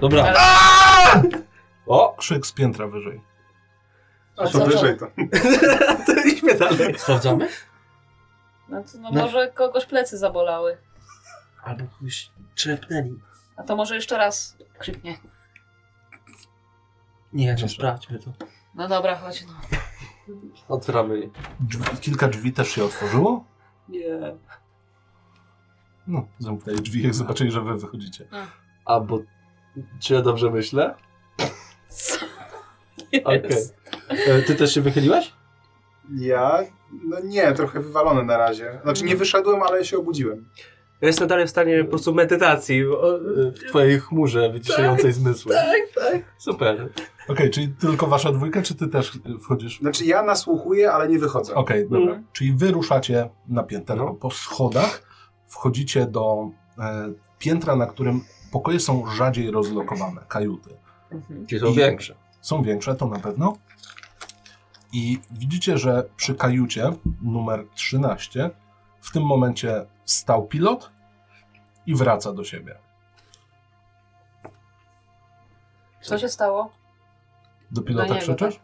Dobra. O, krzyk z piętra wyżej. A To co wyżej to. to idźmy dalej. Sprawdzamy? No, to, no No. może kogoś plecy zabolały. Albo kogoś czepnęli. A to może jeszcze raz krzyknie. Nie, Dobra. no sprawdźmy to. No dobra, chodź. No. Otwieramy jej. Drzwi, kilka drzwi też się otworzyło. Nie. No, zamknęli drzwi, jak zobaczyli, że wy wychodzicie. A bo... Czy ja dobrze myślę? Co Okej. jest? E, Ty też się wychyliłaś? Ja? No nie, trochę wywalony na razie. Znaczy nie wyszedłem, ale się obudziłem. Ja jestem dalej w stanie po prostu medytacji. bo- E, W twojej chmurze wyciszającej zmysły. Tak, tak. Super. Okej, czyli tylko wasza dwójka, czy ty też y, wchodzisz? Znaczy ja nasłuchuję, ale nie wychodzę. Okej, dobra. Mhm. Czyli wy ruszacie na pięterko No. po schodach, wchodzicie do e, piętra, na którym pokoje są rzadziej rozlokowane, kajuty. Czyli są większe. Są większe, to na pewno. I widzicie, że przy kajucie numer 13 w tym momencie stał pilot i wraca do siebie. Co się stało? Do pilota niego, tak. krzyczysz?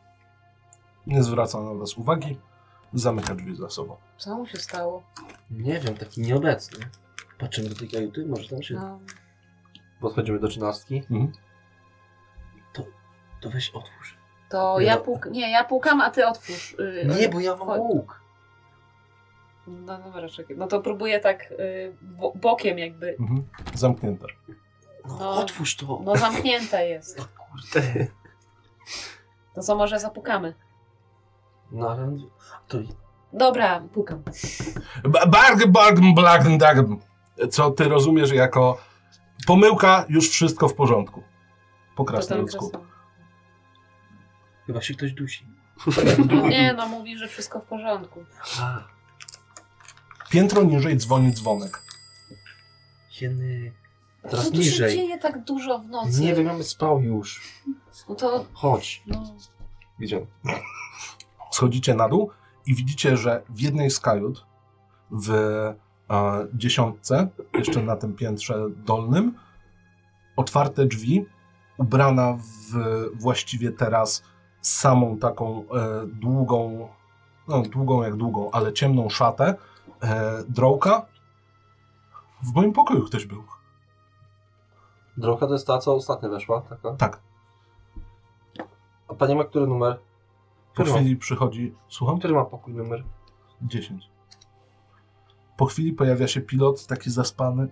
Nie zwraca na was uwagi, zamyka drzwi za sobą. Co mu się stało? Nie wiem, taki nieobecny. Patrzymy do tej kajuty, może tam się... No. Podchodzimy do trzynastki. To weź otwórz. To Nie, ja no. puk... Nie, ja pukam, a ty otwórz. Yy, Nie, bo ja mam Chodź. łuk. No dobra, czekaj. No to próbuję tak y, bo bokiem jakby. Mhm. Zamknięte. No, No. otwórz to. No zamknięte jest. Kurde. To co może zapukamy? No ale... To... Dobra, pukam. B- Barg, barg, blag, dag. Co ty rozumiesz jako pomyłka, już wszystko w porządku. To Po tam krasnoludzku. krasnolud. Chyba się ktoś dusi. No nie, no mówi, że wszystko w porządku. A, Piętro niżej dzwoni dzwonek. jeny... Teraz Co tu się niżej. dzieje tak dużo w nocy? Nie wiem, ja bym spał już. No to... Chodź. No, Gdzie? Schodzicie na dół i widzicie, że w jednej z kajut w e, dziesiątce, jeszcze na tym piętrze dolnym, otwarte drzwi, ubrana w właściwie teraz samą taką e, długą, no długą jak długą, ale ciemną szatę, e, drołka. W moim pokoju ktoś był. Droga to jest ta, co ostatnio weszła, taka? Tak. A pani ma który numer? Po Który ma, chwili przychodzi, słucham, który ma pokój numer? 10. Po chwili pojawia się pilot, taki zaspany.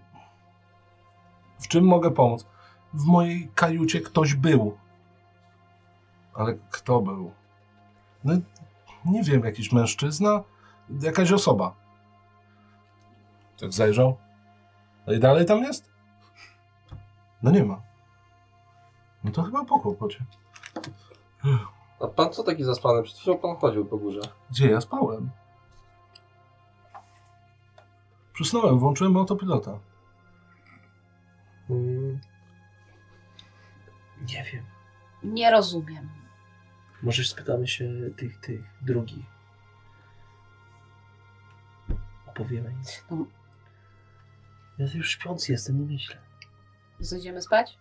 W czym mogę pomóc? W mojej kajucie ktoś był. Ale kto był? No, nie wiem, jakiś mężczyzna, jakaś osoba. Tak zajrzał. No i dalej tam jest? No nie ma. No to chyba po kłopocie. A pan co taki zaspany? Przed chwilą pan chodził po górze. Gdzie ja spałem? Przysnąłem, włączyłem autopilota. Mm, Nie wiem. nie rozumiem. Może spytamy się tych, tych drugich. Opowiemy im. No. Ja już śpiący jestem, nie myślę. Zejdziemy spać?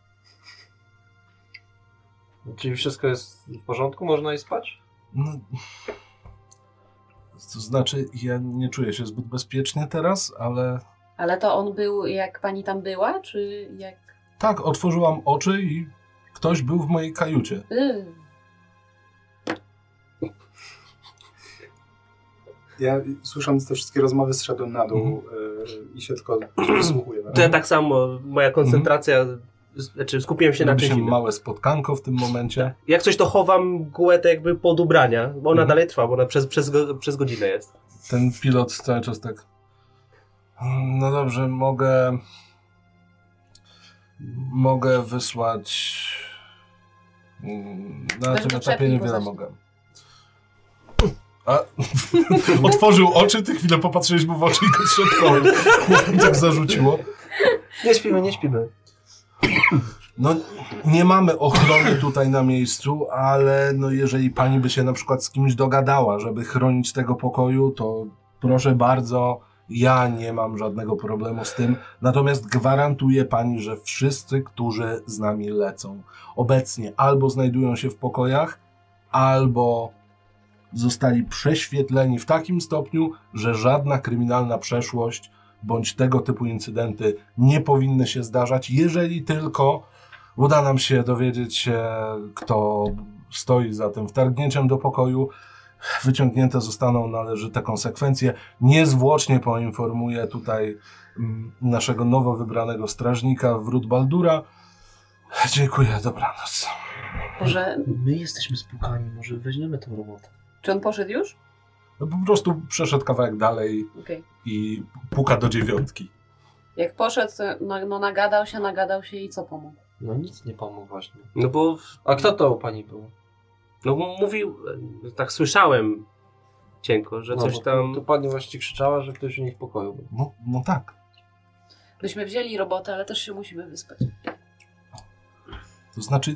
Czyli wszystko jest w porządku? Można i spać? No, to znaczy, ja nie czuję się zbyt bezpiecznie teraz, ale Ale to on był, jak pani tam była, czy jak... tak, otworzyłam oczy i ktoś był w mojej kajucie. Yy. Ja słysząc te wszystkie rozmowy zszedłem na dół y, i się tylko wysłuchuję. no. To ja tak samo, moja koncentracja, z- znaczy skupiłem się na Robi czymś się innym. małe spotkanko w tym momencie. Jak coś to chowam mgłę tak jakby pod ubrania, bo ona Mhm. dalej trwa, bo ona przez, przez, go- przez godzinę jest. Ten pilot cały czas tak. No dobrze, mogę. Mogę wysłać. Mm, Na Weź tym go etapie przepnij, bo niewiele zacznie. mogę. A, otworzył oczy, ty chwilę popatrzyłeś mu w oczy i go trzepnąłem. tak zarzuciło. Nie śpimy, nie śpimy. No, nie mamy ochrony tutaj na miejscu, ale no jeżeli pani by się na przykład z kimś dogadała, żeby chronić tego pokoju, to proszę bardzo, Ja nie mam żadnego problemu z tym, natomiast gwarantuję pani, że wszyscy, którzy z nami lecą obecnie albo znajdują się w pokojach, albo zostali prześwietleni w takim stopniu, że żadna kryminalna przeszłość bądź tego typu incydenty nie powinny się zdarzać, jeżeli tylko uda nam się dowiedzieć, e, kto stoi za tym wtargnięciem do pokoju. Wyciągnięte zostaną należyte konsekwencje. Niezwłocznie poinformuję tutaj mm, naszego nowo wybranego strażnika Wrót Baldura. Dziękuję, dobranoc. Może... My jesteśmy spłukani, może weźmiemy tą robotę. Czy on poszedł już? No, po prostu przeszedł kawałek dalej Okej. i puka do dziewiątki. Jak poszedł, to no, no nagadał się, nagadał się i co pomógł? No nic nie pomógł właśnie. No bo. w- A kto to u pani był? No bo mówił. e, Tak słyszałem cienko, że No, coś bo tam. To, to pani właśnie krzyczała, że ktoś u niej w pokoju był. No, no tak. Byśmy wzięli robotę, ale też się musimy wyspać. To znaczy,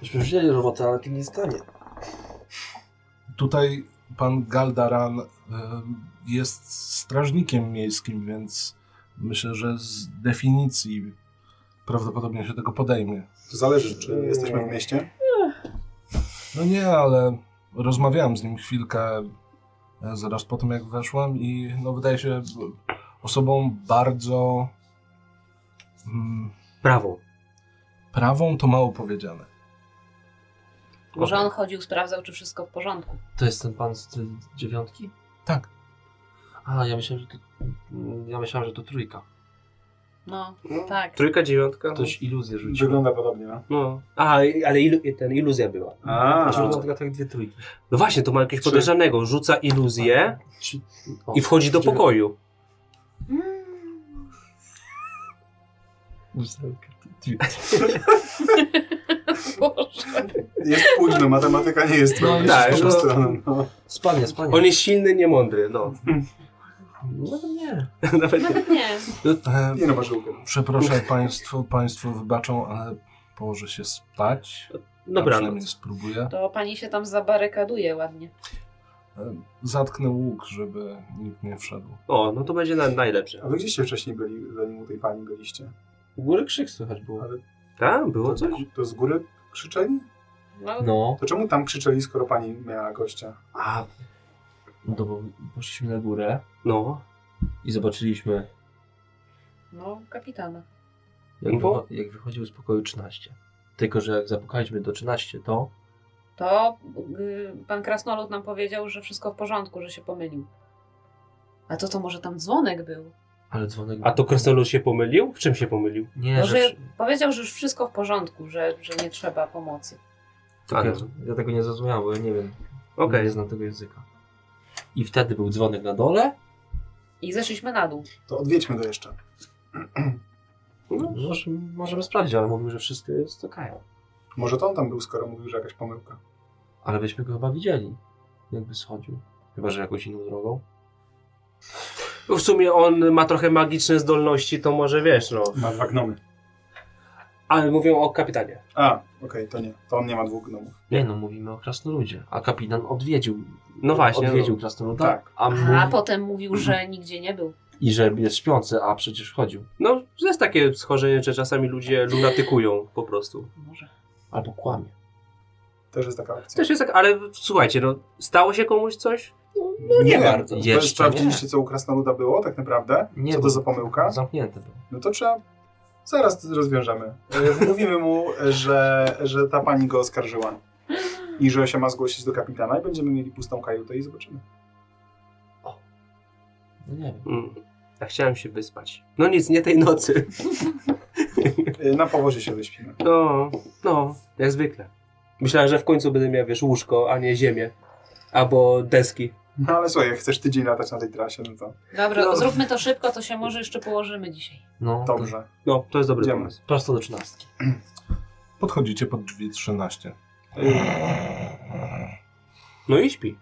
Myśmy wzięli robotę, ale to nie stanie. tutaj pan Galdaran em, jest strażnikiem miejskim, więc myślę, że z definicji prawdopodobnie się tego podejmie. To zależy, czy jesteśmy w mieście. No nie, ale rozmawiałem z nim chwilkę e, zaraz po tym, jak weszłam i no wydaje się b- osobą bardzo mm, Prawo. prawą to mało powiedziane. Może on chodził, sprawdzał, czy wszystko w porządku. To jest ten pan z tej dziewiątki? Tak. A, ja myślałem, że to, ja myślałem, że to trójka. No, No, tak. Trójka, dziewiątka. Ktoś iluzję rzucił. Wygląda podobnie, no. No. A, i- ale ilu, ten iluzja była. A, Znaczy, wygląda tylko tak dwie trójki. No właśnie, to ma jakiegoś Trzy. podejrzanego. Rzuca iluzję Trzy- o, i wchodzi do dziewię- pokoju. Boże. jest późno, matematyka nie jest twoją tak, mocną no. stroną. No. Spanie, spanie. On jest silny, niemądry. No. No nie. Nawet nie. Nawet No nie. E, Nie no, masz łukę. Przepraszam państwo, państwo wybaczą, ale położę się spać. A przynajmniej Dobranoc. spróbuję. To pani się tam zabarykaduje ładnie. E, Zatknę łuk, żeby nikt nie wszedł. O, no to będzie na, najlepsze. A wy gdzieście wcześniej byli, zanim u tej pani byliście? U góry krzyk słychać było. Ale Tam Tak? było to, coś? to z góry krzyczeli? No, No, To czemu tam krzyczeli, skoro pani miała gościa? A, no to bo poszliśmy na górę No. i zobaczyliśmy, no kapitana. jak, Bo- wycho- jak wychodził z pokoju 13. Tylko, że jak zapukaliśmy do 13, to To y, pan Krasnolud nam powiedział, że wszystko w porządku, że się pomylił. A to to może tam dzwonek był? ale dzwonek... A to Krasnolud się pomylił? W czym się pomylił? Nie, Może że... powiedział, że już wszystko w porządku, że, że nie trzeba pomocy. Tak, ja, Ale- ja tego nie zrozumiałem, bo ja nie wiem, no. Okej. nie znam tego języka. I wtedy był dzwonek na dole, I zeszliśmy na dół. To odwiedźmy go jeszcze. no, może, możemy sprawdzić, ale mówił, że wszystko jest okej. Może to on tam był, skoro mówił, że jakaś pomyłka. ale byśmy go chyba widzieli, jakby schodził. Chyba, że jakąś inną drogą. W sumie on ma trochę magiczne zdolności, to może wiesz, no. Ma dwa gnomy. Ale mówią o kapitanie. A, okej, to nie. To on nie ma dwóch gnomów. Nie no, mówimy o krasnoludzie. A kapitan odwiedził. No właśnie, Odwiedził no. krasnoluda. Tak. A, A, mówi- potem mówił, że nigdzie nie był. I że jest śpiący, a przecież chodził. No, to jest takie schorzenie, że czasami ludzie lunatykują po prostu. Może. Albo kłamie. Też jest taka opcja. Też jest tak, ale słuchajcie, no, stało się komuś coś? nie, wiem. bardzo. Bo Jeszcze Sprawdziliście, co u Krasnoluda było tak naprawdę? Nie, co bo- to za pomyłka? Zamknięty był. No to trzeba... Zaraz to rozwiążemy. E, Mówimy mu, że, że ta pani go oskarżyła. I że się ma zgłosić do kapitana i będziemy mieli pustą kajutę i zobaczymy. No nie wiem. Mm. Ja chciałem się wyspać. No nic, nie tej nocy. E, Na powozie się wyśpimy. No, no, jak zwykle. Myślałem, że w końcu będę miał, wiesz, łóżko, a nie ziemię. Albo deski. No ale słuchaj, jak chcesz tydzień latać na tej trasie, no to Dobra, No. zróbmy to szybko, to się może jeszcze położymy dzisiaj. No, to dobrze. No, to jest dobry Idziemy. pomysł. prosto do trzynastki. Podchodzicie pod drzwi 13. No i śpi.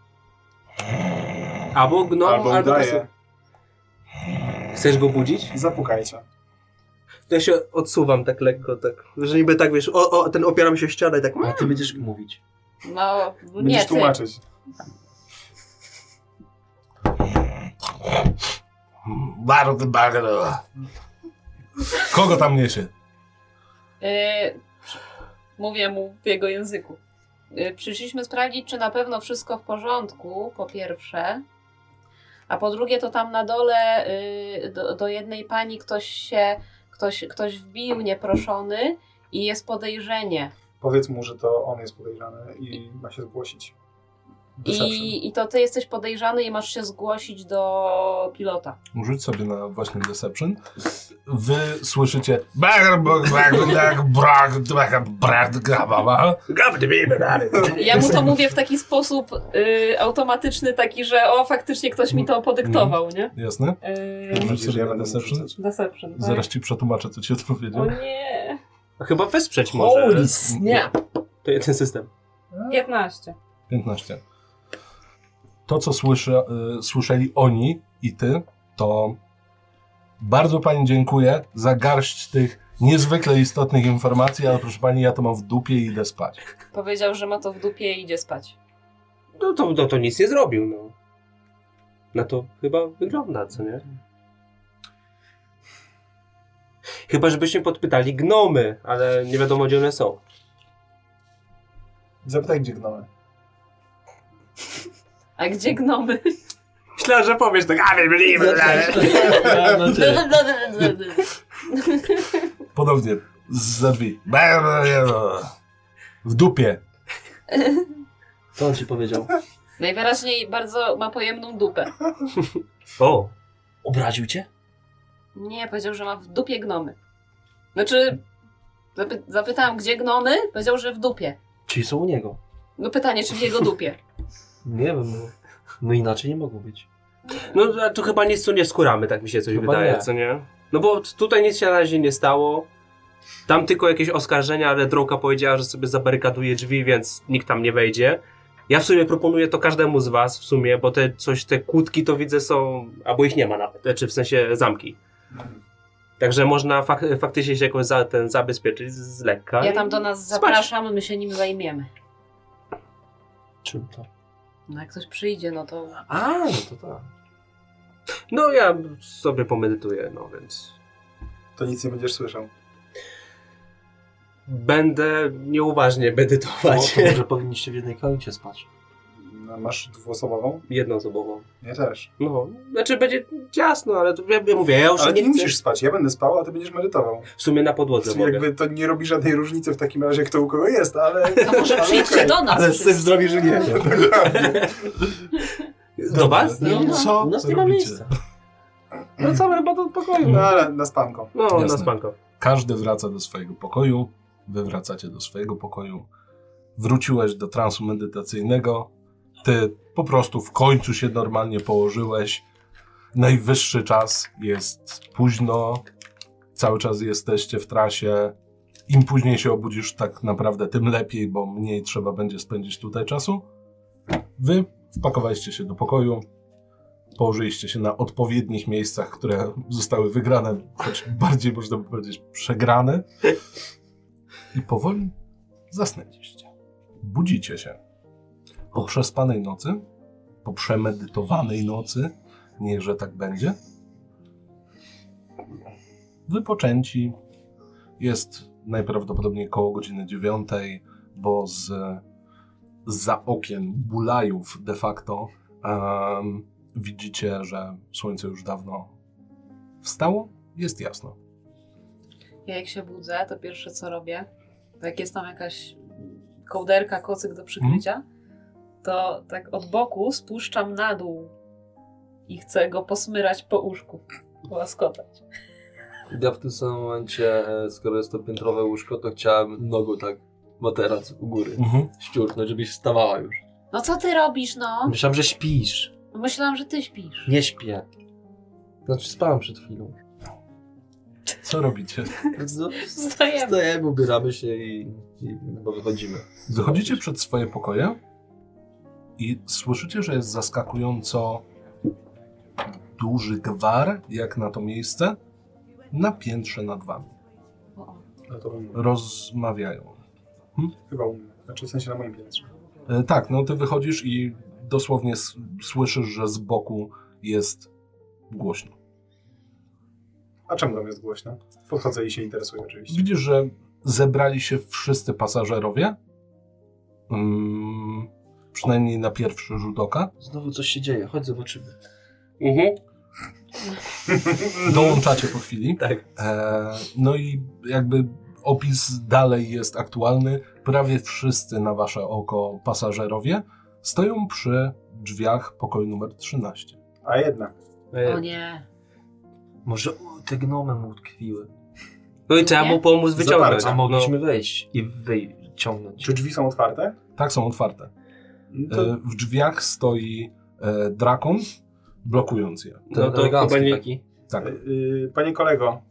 Albo gnom, Albo No, albo, tak udaje. Chcesz go budzić? Zapukajcie. To ja się odsuwam tak lekko, tak, że niby tak, wiesz, o, o, ten opieram się o ścianę i tak... A ty będziesz mówić. No, Będziesz nie, ty. tłumaczyć. Mm, Bardzo, bardzo. Kogo tam niesie? E, mówię mu w jego języku. E, przyszliśmy sprawdzić, czy na pewno wszystko w porządku, po pierwsze. A po drugie, to tam na dole e, do, do jednej pani ktoś się, ktoś, ktoś wbił nieproszony i jest podejrzenie. Powiedz mu, że to on jest podejrzany i ma się zgłosić. Deception. I, I to ty jesteś podejrzany i masz się zgłosić do pilota. Rzuć sobie na właśnie deception. Wy słyszycie brak, brak, brak, brak, brak, brak, brak, grababa. Ja mu to mówię w taki sposób y, automatyczny, taki, że o, faktycznie ktoś mi to podyktował, nie? Jasne? Y, Rzuć Widzisz, sobie ja na będę deception. rzucać. deception, tak? Zaraz ci przetłumaczę, co ci odpowiedział. O nie. Chyba wesprzeć może. Holy snap! To jeden system. 15. 15. To, co słysza, y, słyszeli oni i ty, to bardzo pani dziękuję za garść tych niezwykle istotnych informacji, ale proszę pani, ja to mam w dupie i idę spać. Powiedział, że ma to w dupie i idzie spać. No to, no to nic nie zrobił, no. Na to chyba wygląda, co nie? Chyba, żebyśmy podpytali gnomy, ale nie wiadomo, gdzie one są. Zapytaj, gdzie gnomy. A gdzie gnomy? Myślałem, że powiesz tak, a believe Ja na ciebie. Podobnie, za drzwi. W dupie. Co on ci powiedział? Najwyraźniej bardzo ma pojemną dupę. O, Obraził cię? Nie, powiedział, że ma w dupie gnomy. Znaczy, zapy zapytałam, gdzie gnomy? Powiedział, że w dupie. Czyli są u niego. No pytanie, czy w jego dupie. Nie wiem, no. No inaczej nie mogło być. no a tu chyba nic tu nie skuramy, tak mi się coś Chyba wydaje, nie. co nie? No bo tutaj nic się na razie nie stało. Tam tylko jakieś oskarżenia, ale Drołka powiedziała, że sobie zabarykaduje drzwi, więc nikt tam nie wejdzie. Ja w sumie proponuję to każdemu z was w sumie, bo te coś, te kłódki to widzę są, albo ich nie ma nawet, znaczy w sensie zamki. Także można fak faktycznie się jakoś za, ten zabezpieczyć z z Tak? lekka. Ja i tam do nas spać. zapraszam, my się nim zajmiemy. Czym to? No jak ktoś przyjdzie, no to... A, no to tak. No ja sobie pomedytuję, no więc... To nic nie będziesz słyszał. Będę nieuważnie No, medytować. to może powinniście w jednej kajucie spać. No, Masz dwuosobową? Jednoosobową. Ja też. No, znaczy będzie ciasno, ale to ja, ja mówię, ja już Ale nie ty nie chcę. musisz spać, ja będę spał, a ty będziesz medytował. W sumie na podłodze W sumie mogę. jakby to nie robi żadnej różnicy w takim razie, kto u kogo jest, ale... To może ale przyjdźcie okej. do nas wszyscy. że nie. Do was? No, no, Co u nas nie ma robicie? miejsca. No co, chyba do pokoju. No No, ale na spanko. na Jasne. spanko. Każdy wraca do swojego pokoju, wy wracacie do swojego pokoju. Wróciłeś do transu medytacyjnego, ty po prostu w końcu się normalnie położyłeś. Najwyższy czas jest późno, cały czas jesteście w trasie. Im później się obudzisz, tak naprawdę tym lepiej, bo mniej trzeba będzie spędzić tutaj czasu. Wy wpakowaliście się do pokoju, położyliście się na odpowiednich miejscach, które zostały wygrane, choć bardziej można by powiedzieć przegrane. I powoli zasnęliście. Budzicie się. Po przespanej nocy, po przemedytowanej nocy, niechże tak będzie. Wypoczęci. Jest najprawdopodobniej koło godziny dziewiątej, bo z za okien bulajów de facto em, widzicie, że słońce już dawno wstało, jest jasno. Ja jak się budzę, to pierwsze co robię, to jak jest tam jakaś kołderka, kocyk do przykrycia, Mhm. to tak od boku spuszczam na dół i chcę go posmyrać po łóżku, łaskotać. Ja w tym samym momencie, e, skoro jest to piętrowe łóżko, to chciałem nogą tak materac u góry ściurknąć, żebyś wstawała już. No co ty robisz, no? Myślałem, że śpisz. Myślałam, że ty śpisz. Nie śpię. Znaczy spałem przed chwilą. Co robicie? Więc no, Wstajemy. Wstajemy, ubieramy się i, i chyba wychodzimy. Zachodzicie przed swoje pokoje i słyszycie, że jest zaskakująco duży gwar, jak na to miejsce, na piętrze nad wami. O, o. No to u mnie. Rozmawiają. Chyba u mnie. Znaczy w sensie na moim piętrze. E, tak, no ty wychodzisz i dosłownie s- słyszysz, że z boku jest głośno. A czemu tam jest głośno? Podchodzę i się interesuję oczywiście. Widzisz, że zebrali się wszyscy pasażerowie. Mm, przynajmniej na pierwszy rzut oka. Znowu coś się dzieje, chodź zobaczymy. Mhm. Mm. Dołączacie po chwili. Tak. E, no i jakby opis dalej jest aktualny. Prawie wszyscy na wasze oko pasażerowie stoją przy drzwiach pokoju numer 13. A jednak. E, O nie. Może u, te gnomy mu utkwiły. No i trzeba mu pomóc wyciągnąć. Zaparcia. A No. mogliśmy wejść i wyciągnąć. Czy drzwi są otwarte? Tak, są otwarte. No To E, w drzwiach stoi e, drakon, blokując je. Ten No to elegancki chyba nie- taki. Tak, Y, y, Panie kolego,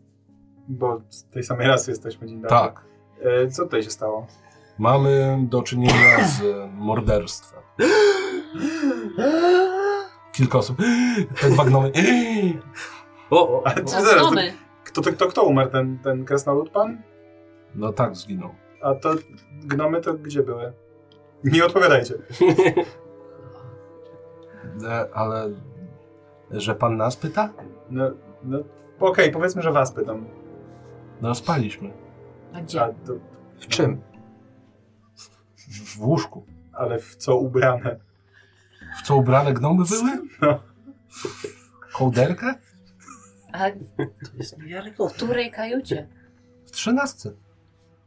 bo z tej samej rasy jesteśmy dzień dobry. tak. Y, Co tutaj się stało? Mamy do czynienia z e, morderstwem. Kilka osób. Te dwa gnomy. O, o, A ty zaraz, No, to, Zasnomy. kto, to, kto, kto umarł? Ten, ten krasnolud pan? No tak, zginął. A to gnomy to gdzie były? Nie odpowiadajcie. E, ale że pan nas pyta? No, no okej, powiedzmy, że was pytam. No spaliśmy. A A, gdzie? to, W czym? W łóżku. ale w co ubrane? W co ubrane gnomy były? No. W kołderkę? A To jest w niewiarygodne. której kajucie? W trzynastce.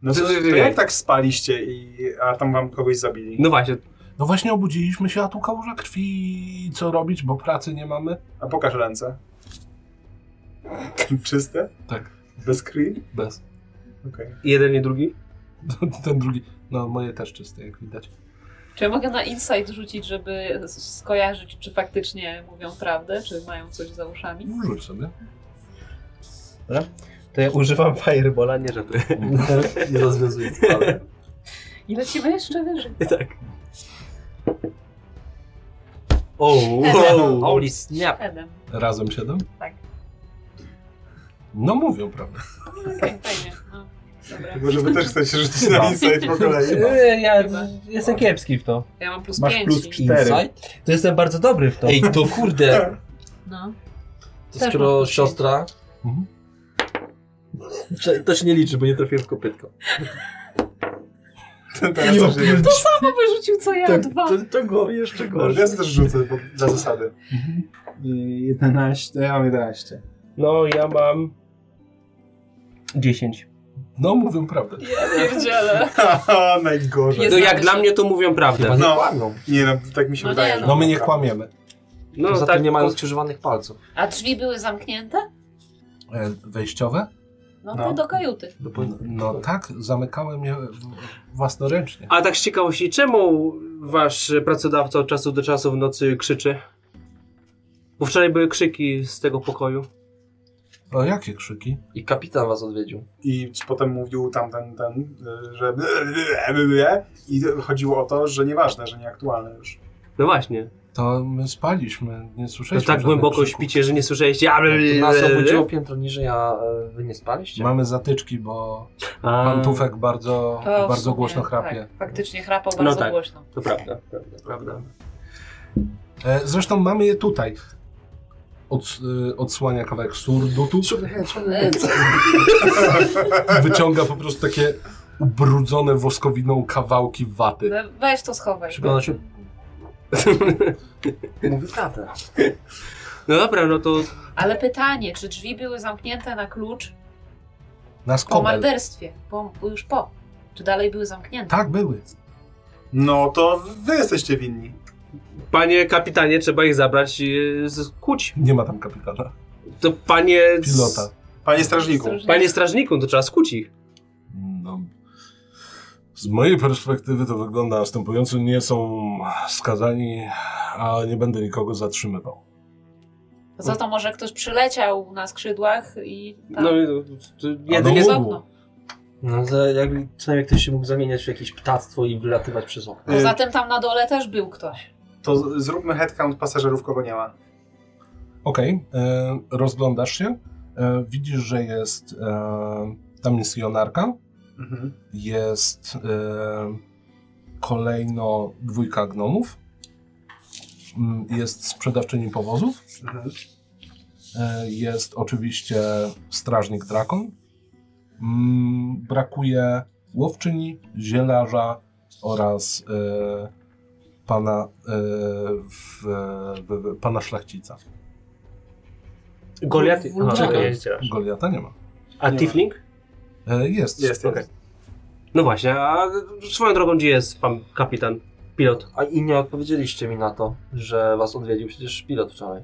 No to, Ty, to ty, ty. jak tak spaliście i a tam wam kogoś zabili? no właśnie, No właśnie obudziliśmy się, a tu kałuża krwi. Co robić, bo pracy nie mamy? A pokaż ręce. Czyste? Tak. Bez krwi? Bez. Okej. jeden i drugi. Ten drugi. No moje też czyste, jak widać. Czy ja mogę na insight rzucić, żeby s- skojarzyć, czy faktycznie mówią prawdę, czy mają coś za uszami? Rzuć sobie. To ja używam Firebola nie żartuję. Nie rozwiązuję sprawy. I lecimy jeszcze wyżej. Tak. O, wow. Holy snap. Edem. Razem siedem? Tak. No mówią, prawda? Okej, fajnie. No, dobra. Może wy też chcecie rzucić No. na insight po kolei? Ja Chyba. jestem kiepski w to. Ja mam plus Masz pięć. plus i- cztery. To jestem bardzo dobry w to. Ej, to kurde. No. To Też skoro mam siostra... Mhm. Cze- To się nie liczy, bo nie trafiłem w kopytko. Teraz też jest. No wyrzucił co ja, dwa. to go jeszcze Ja też rzucę bo, dla zasady. 11, ja mam 11. No ja mam 10. No mówią prawdę. Pierdziele. Haha, najgorzej. Jest- No jak dla mnie to mówią prawdę. No. kłamią. Nie no, tak mi się No nie, wydaje. no. że- No my nie kłamiemy. No Poza tak, tym nie mają po- skrzyżowanych palców. A drzwi były zamknięte? E, Wejściowe? No, No. to do kajuty. Do No, no tak, zamykałem je w- własnoręcznie. A tak z ciekawości, czemu wasz pracodawca od czasu do czasu w nocy krzyczy? Bo wczoraj były krzyki z tego pokoju. O jakie krzyki? I kapitan was odwiedził. I c- potem mówił tamten, ten, y, że i chodziło o to, że nieważne, że nieaktualne już. No właśnie. To my spaliśmy, nie To słyszeliśmy. tak żadnych głęboko krzyków. śpicie, że nie słyszeliście. A, To nas obudziło piętro niżej, a e, wy nie spaliście? Mamy zatyczki, bo A, pantufek bardzo, To w bardzo sumie, głośno chrapie. Tak, faktycznie chrapał No bardzo tak. głośno. To prawda, prawda, prawda. E, Zresztą mamy je tutaj. Od, y, odsłania kawałek surdutu, E, co- wyciąga po prostu takie ubrudzone woskowiną kawałki waty. no, Weź to schowaj. Przygląda się. Mówi prawdę. No dobra, no to Ale pytanie, czy drzwi były zamknięte na klucz Na po skobel. morderstwie? Po, już po. Czy dalej były zamknięte? Tak, były. No to wy jesteście winni. panie kapitanie, trzeba ich zabrać i z- kuć. Nie ma tam kapitana. To panie... z- Pilota. Panie strażniku, Panie strażniku, to trzeba skuć ich. No, z mojej perspektywy to wygląda następująco. Nie są skazani, a nie będę nikogo zatrzymywał. Za to może ktoś przyleciał na skrzydłach i tam No, to no, jedynie... przez mógł. okno. No to jakby przynajmniej ktoś się mógł zamieniać w jakieś ptactwo i wylatywać przez okno. Poza tym tam na dole też był ktoś. Y, to z- zróbmy headcount pasażerów, kogo nie ma. Okej, e, rozglądasz się. E, widzisz, że jest. E, tam jest jonarka. Mhm. Jest e, kolejno dwójka gnomów. Mm, Jest sprzedawczyni powozów. Mhm. E, Jest oczywiście strażnik drakon. Mm, Brakuje łowczyni, zielarza oraz e, pana, e, w, w, w, pana szlachcica. Goliat... Aha, Czekaj. czekaj, jest dzielasz. Goliata nie ma. A Nie ma. Tifling? E, Jest. Jest, Okej. jest. No właśnie, a swoją drogą gdzie jest pan kapitan, pilot? A i nie odpowiedzieliście mi na to, że was odwiedził przecież pilot wczoraj.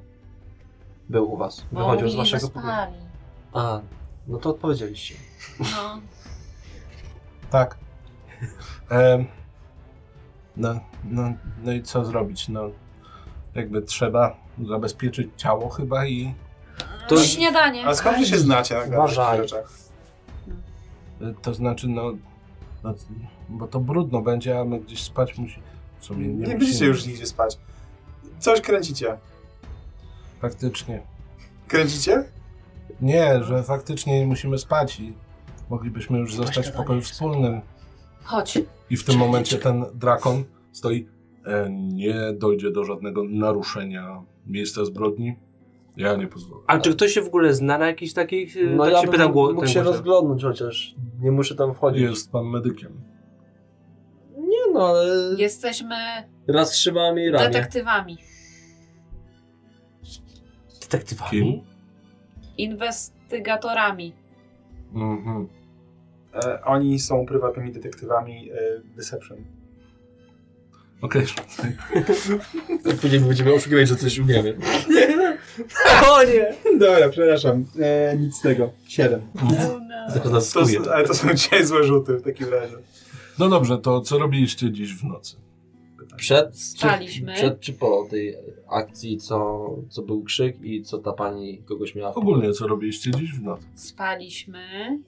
Był u was. Bo Wychodził z mówili, No, że waszego pokoju. spali. A, no to odpowiedzieliście. No. Tak. Em, no, no, no i co zrobić? No, jakby trzeba zabezpieczyć ciało chyba i To- No Śniadanie. A skąd wy się znacie na takich Uważaj. rzeczach? y, to znaczy, no, no bo to brudno będzie, a my gdzieś spać musi. W sumie nie, Nie, musimy. będziecie już nigdzie spać. Coś kręcicie. Faktycznie. Kręcicie? Nie, że faktycznie nie musimy spać i moglibyśmy już zostać w pokoju wspólnym. Chodź. I w tym momencie ten drakon stoi. E, nie dojdzie do żadnego naruszenia miejsca zbrodni. Ja nie pozwolę. A czy ktoś się w ogóle zna na jakichś takich... e, No tak ja się pyta gło- mógł ten się głos. rozglądnąć chociaż. Nie muszę tam wchodzić. Jest pan medykiem. Nie no, ale Tak, Jesteśmy raz trzymała mi ramię. detektywami. Kim? Detektywami? Inwestygatorami. Mhm. E, oni są prywatnymi detektywami e, Deception. Okej, Później będziemy oszukiwać, że coś umiemy. O nie! Dobra, przepraszam. E, nic z tego. Siedem. Zaraz nas To, skuje. s- ale to są dzisiaj złe rzuty w takim razie. no dobrze, to co robiliście dziś w nocy? Przed, Spaliśmy. czy, przed czy po tej akcji, co, co był krzyk i co ta pani kogoś miała? w pokoju? Ogólnie co robiliście dziś w nocy? Spaliśmy.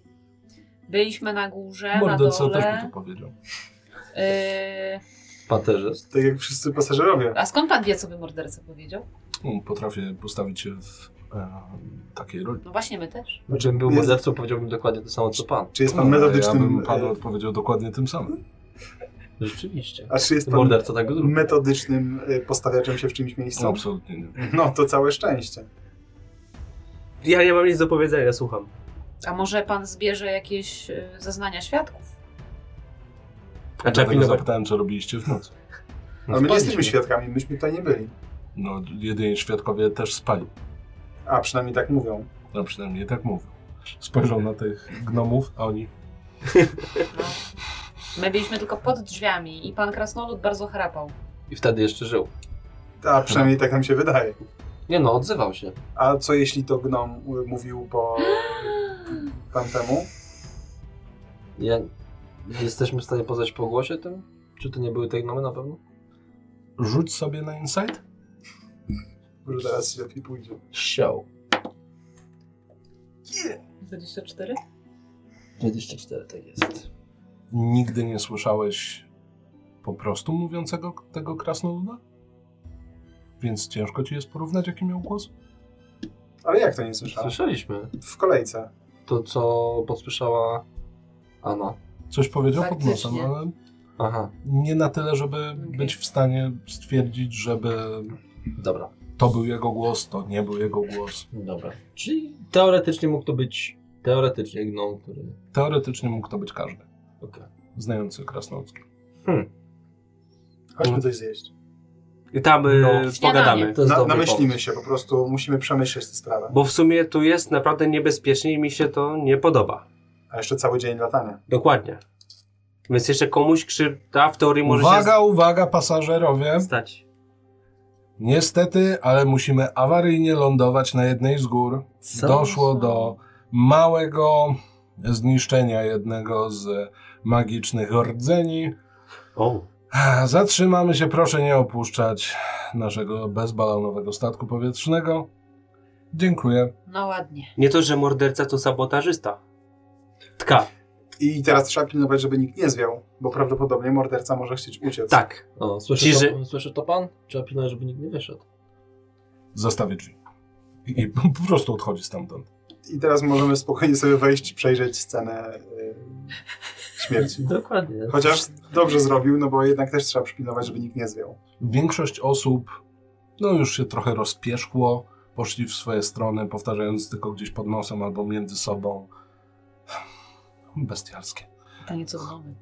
Byliśmy na górze, Morderca na też by dole. to powiedział. Yy, Paterzyst. Tak jak wszyscy pasażerowie. a skąd pan wie, co by morderca powiedział? No, Potrafię postawić się w e, takiej roli. No właśnie my też. Gdybym był Jest- mordercą, powiedziałbym dokładnie to samo co pan. Czy jest pan No, metodycznym... Ja bym panu e, odpowiedział dokładnie tym samym. Rzeczywiście. a czy jest pan Morderca tak tego drugiego. metodycznym e, postawiaczem się w czymś miejscu? Absolutnie nie. No, to całe szczęście. Ja nie mam nic do powiedzenia, słucham. A może pan zbierze jakieś yy, zeznania świadków? A trzeba Dlatego pilnować. zapytałem, co robiliście w nocy. Ale my nie Wpadliśmy. jesteśmy świadkami, myśmy tutaj nie byli. No, jedyni świadkowie też spali. A przynajmniej tak mówią. No przynajmniej tak mówią. Spojrzał na tych gnomów, a oni... No. My byliśmy tylko pod drzwiami i pan krasnolud bardzo chrapał. I wtedy jeszcze żył. A przynajmniej tak nam się wydaje. Nie no, odzywał się. A co jeśli to gnom y, mówił po tamtemu? Ja... Jesteśmy w stanie poznać po głosie tym? Czy to nie były te gnomy na pewno? Rzuć sobie na insight. Może teraz się lepiej pójdzie. Show. 24? 24 tak jest. Nigdy nie słyszałeś po prostu mówiącego tego krasnoluda? Więc ciężko ci jest porównać, jaki miał głos? Ale jak to nie słyszałem? Słyszeliśmy. W kolejce. To co podsłyszała Anna. Coś powiedział pod nosem, Faktycznie. ale Aha, nie na tyle, żeby Okej. być w stanie stwierdzić, żeby dobra. to był jego głos, to nie był jego głos. Dobra. Czyli teoretycznie mógł to być teoretycznie gnom, który... Teoretycznie mógł to być każdy, Okej. znający krasnoludzkie. Chodźmy coś zjeść. I tam e, No. pogadamy. To jest Na, dobry namyślimy pomysł. się, po prostu musimy przemyśleć tę sprawę. Bo w sumie tu jest naprawdę niebezpiecznie i mi się to nie podoba. A jeszcze cały dzień latania. Dokładnie. Więc jeszcze komuś krzywda w teorii może Uwaga, uwaga pasażerowie! się stać. Niestety, ale musimy awaryjnie lądować na jednej z gór. Co? Doszło do małego zniszczenia jednego z magicznych rdzeni. O. Zatrzymamy się, proszę nie opuszczać naszego bezbalonowego statku powietrznego. Dziękuję. No ładnie. Nie to, że morderca to sabotażysta. Tka. I teraz trzeba pilnować, żeby nikt nie zwiał, bo prawdopodobnie morderca może chcieć uciec. Tak. O, słyszy, Czyli, to, słyszy to pan? Trzeba pilnować, żeby nikt nie wyszedł. Zostawię drzwi. I po prostu odchodzi stamtąd. I teraz możemy spokojnie sobie wejść, przejrzeć scenę y, śmierci. Dokładnie. Chociaż dobrze zrobił, no bo jednak też trzeba przypilnować, żeby nikt nie zwiał. Większość osób no już się trochę rozpierzchło, poszli w swoje strony, powtarzając tylko gdzieś pod nosem albo między sobą. Bestialskie. To nie co gnomy.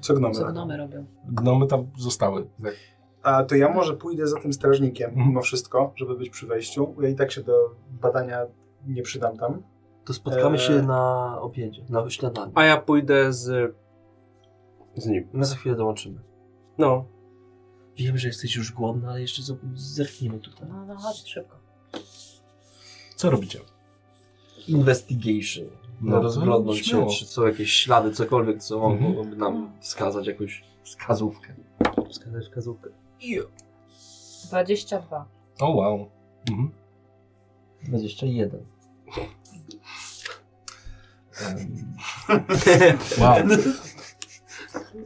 Co gnomy Co robią? gnomy robią. Gnomy tam zostały. Tak. A to ja może pójdę za tym strażnikiem Mhm. mimo wszystko, żeby być przy wejściu. Ja i tak się do badania nie przydam tam. To spotkamy się Eee. na obiedzie, na śniadaniu. A ja pójdę z... z nim. My za chwilę dołączymy. No. Wiem, że jesteś już głodny, ale jeszcze z- zerknijmy tutaj. No, no chodź szybko. Co robicie? Investigation. to No, rozglądnąć się, śmiało. czy są jakieś ślady, cokolwiek, co Mhm. mogłoby nam wskazać jakąś wskazówkę. Wskazać wskazówkę. 22. O wow. Mhm. 21. Em, Wow.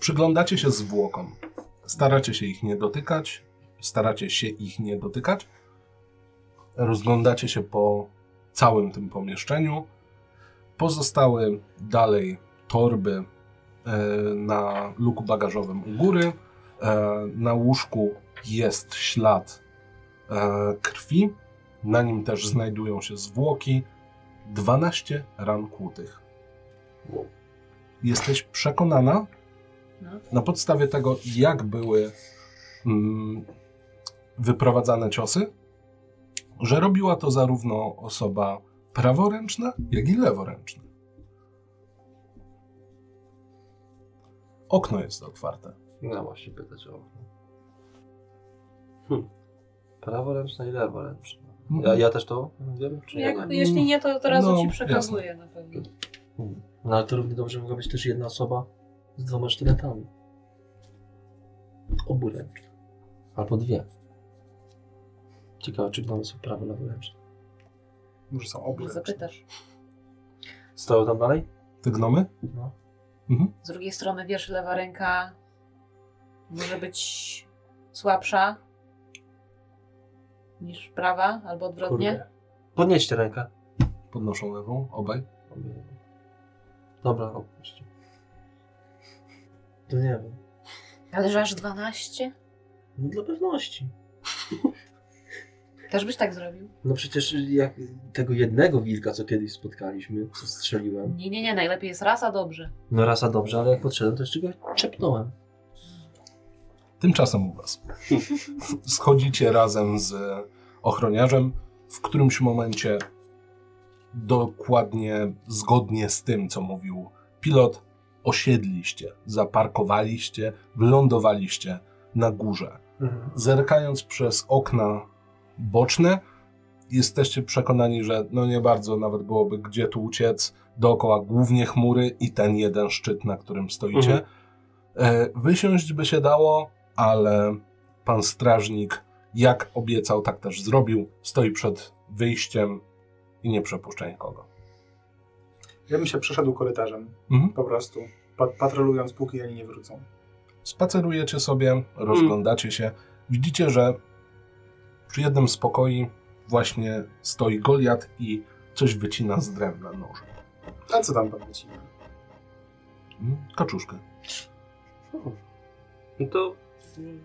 Przyglądacie się zwłokom. Staracie się ich nie dotykać. Staracie się ich nie dotykać. Rozglądacie się po całym tym pomieszczeniu. Pozostały dalej torby e, na luku bagażowym u góry. E, Na łóżku jest ślad e, krwi. Na nim też znajdują się zwłoki. 12 ran kłutych. Jesteś przekonana No. na podstawie tego, jak były mm, wyprowadzane ciosy, że robiła to zarówno osoba praworęczna, jak i leworęczna. Okno jest otwarte. No właśnie pytać o. Hmm. Praworęczna i leworęczna. Ja, ja też to wiem? Czy Jak, ja nie? jeśli nie, to od razu No, ci przekazuję na pewno. No ale to równie dobrze mogła być też jedna osoba z dwoma sztyletami. Oburęczna. Albo dwie. Ciekawe, czy mamy są prawo leworęczne. Może są Może obie. Zapytasz. Stoją tam dalej? Te gnomy? No. Z drugiej strony, wiesz, lewa ręka może być słabsza niż prawa, albo odwrotnie. Kurde. Podnieście rękę. Podnoszą lewą, obaj. Dobra, opuśćcie. To nie wiem. Ale że aż 12? No dla pewności. Też byś tak zrobił? No przecież jak tego jednego wilka, co kiedyś spotkaliśmy, co strzeliłem. Nie, nie, nie, najlepiej jest raz, a dobrze. No raz a dobrze, ale jak podszedłem, to jeszcze go czepnąłem. Tymczasem u was. Schodzicie razem z ochroniarzem. W którymś momencie dokładnie zgodnie z tym, co mówił pilot, osiedliście, zaparkowaliście, wylądowaliście na górze. Zerkając przez okna boczne, jesteście przekonani, że no nie bardzo nawet byłoby gdzie tu uciec. Dookoła głównie chmury i ten jeden szczyt, na którym stoicie. Mhm. E, Wysiąść by się dało, ale pan strażnik, jak obiecał, tak też zrobił. Stoi przed wyjściem i nie przepuszcza nikogo. Ja bym się przeszedł korytarzem, Mhm. po prostu, pa patrolując, póki oni nie wrócą. Spacerujecie sobie, rozglądacie się. Widzicie, że przy jednym z pokoi właśnie stoi Goliat i coś wycina z drewna nożem. A co tam pan wycina? Mhm. Kaczuszkę. No to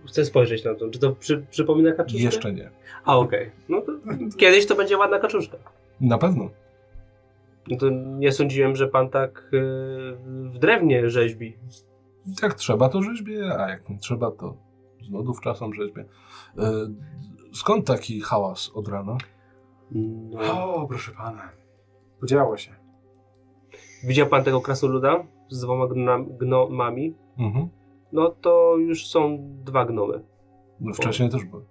chcę spojrzeć na to. Czy to przy, przypomina kaczuszkę? Jeszcze nie. A, okej. No to kiedyś to będzie ładna kaczuszka. Na pewno. No to nie sądziłem, że pan tak yy, w drewnie rzeźbi. Jak trzeba, to rzeźbie, a jak nie trzeba, to z nudów czasem rzeźbie. E, Skąd taki hałas od rana? No. O, proszę pana. Podziało się. Widział pan tego krasoluda z dwoma gnom- gnomami? Mhm. No to już są dwa gnomy. No Wcześniej też były.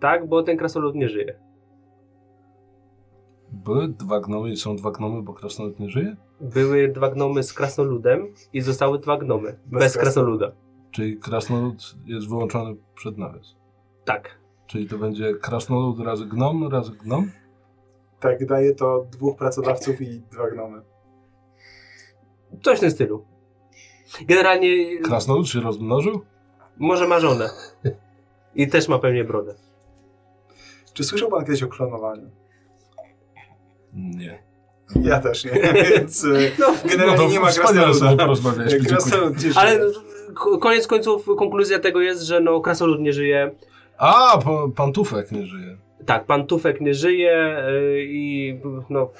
Tak, bo ten krasolud nie żyje. Były dwa gnomy i są dwa gnomy, bo krasnolud nie żyje? Były dwa gnomy z krasoludem i zostały dwa gnomy bez, Bez krasnoluda. Czyli krasnolud jest wyłączony przed nawias. Tak. Czyli to będzie krasnolud razy gnom, razy gnom? Tak, daje to dwóch pracodawców i dwa gnomy. Coś w tym stylu. Generalnie Krasnolud się rozmnożył? może ma żonę. I też ma pewnie brodę. Czy słyszał pan kiedyś o klonowaniu? Nie. Ja też nie, więc e, No, generalnie nie ma no wspaniale sobie krasnoluda. porozmawialiśmy, dziękuję. Krasnolud nie Ale żyje. k- koniec końców konkluzja tego jest, że no krasolud nie żyje. A, po, pantufek nie żyje. Tak, pan Tufek nie żyje y, i no,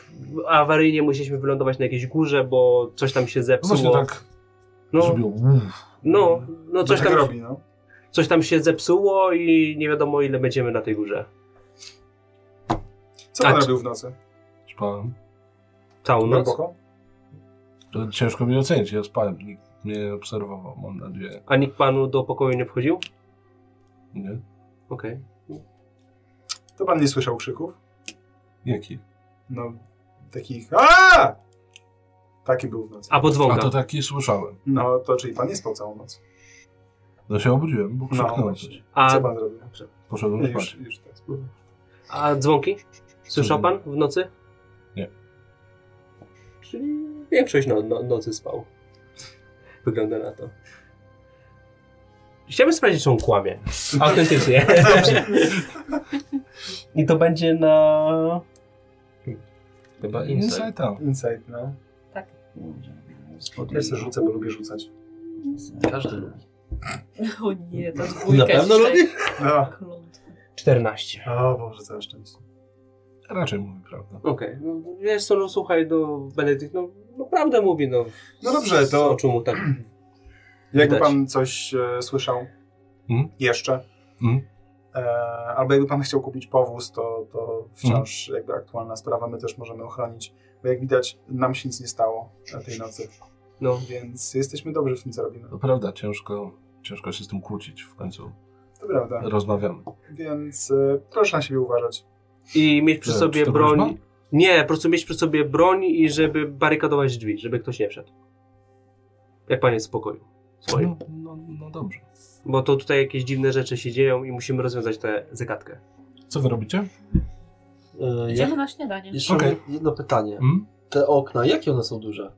awaryjnie musieliśmy wylądować na jakiejś górze, bo coś tam się No Właśnie zepsuło. tak no, zrobiło. no, no coś tak tam, robi, no. coś tam się zepsuło i nie wiadomo ile będziemy na tej górze. Co pan Tak. robił w nocy? Spałem. Całą No noc. Głęboko? To ciężko mi ocenić, ja spałem. Nikt mnie nie obserwował, mam nadzieję. A nikt panu do pokoju nie wchodził? Nie? Okej. To pan nie słyszał krzyków? Jaki? No, takich... A! Taki był w nocy. A A podwąga. to tak- taki słyszałem. No, to czyli pan nie spał całą noc. No się obudziłem, bo krzyknąłem właśnie. coś. Co A, pan zrobił? Poszedłem Nie, spać. Już, już teraz. a dzwonki? Słyszał pan w nocy? Nie. Czyli większość no, no, nocy spał. Wygląda na to. Chciałbym sprawdzić, czy on kłamie. Autentycznie. I to będzie na... Chyba Inside out. Insight, no. Ja sobie rzucę, bo lubię rzucać. Każdy lubi. O nie, ta dwójka Na pewno dzisiaj. lubi? No. Klątwa. 14. O Boże, całe szczęście. Raczej mówi prawda. Okej. No, wiesz co, no słuchaj, no Benedykt, no, no prawdę mówi, no. No dobrze, Z to- oczu mu tak... Jakby Widać. pan coś e, słyszał Hmm? Mhm. jeszcze, Mhm. e, albo jakby pan chciał kupić powóz, to, to wciąż jakby aktualna sprawa, my też możemy ochronić, bo jak widać, nam się nic nie stało na tej nocy, No. więc jesteśmy dobrzy w tym, co robimy. To prawda, ciężko, ciężko się z tym kłócić. W końcu To prawda, rozmawiamy. więc e, proszę na siebie uważać. I mieć przy E, sobie czy to broń. groźba? Nie, po prostu mieć przy sobie broń i żeby barykadować drzwi, żeby ktoś nie wszedł. Jak pan jest w pokoju swoim. No, no, no dobrze. Bo to tutaj jakieś dziwne rzeczy się dzieją i musimy rozwiązać tę zagadkę. Co wy robicie? E, Idziemy ja, na śniadanie. jeszcze Okej. jedno pytanie. Mm? Te okna, jakie one są duże?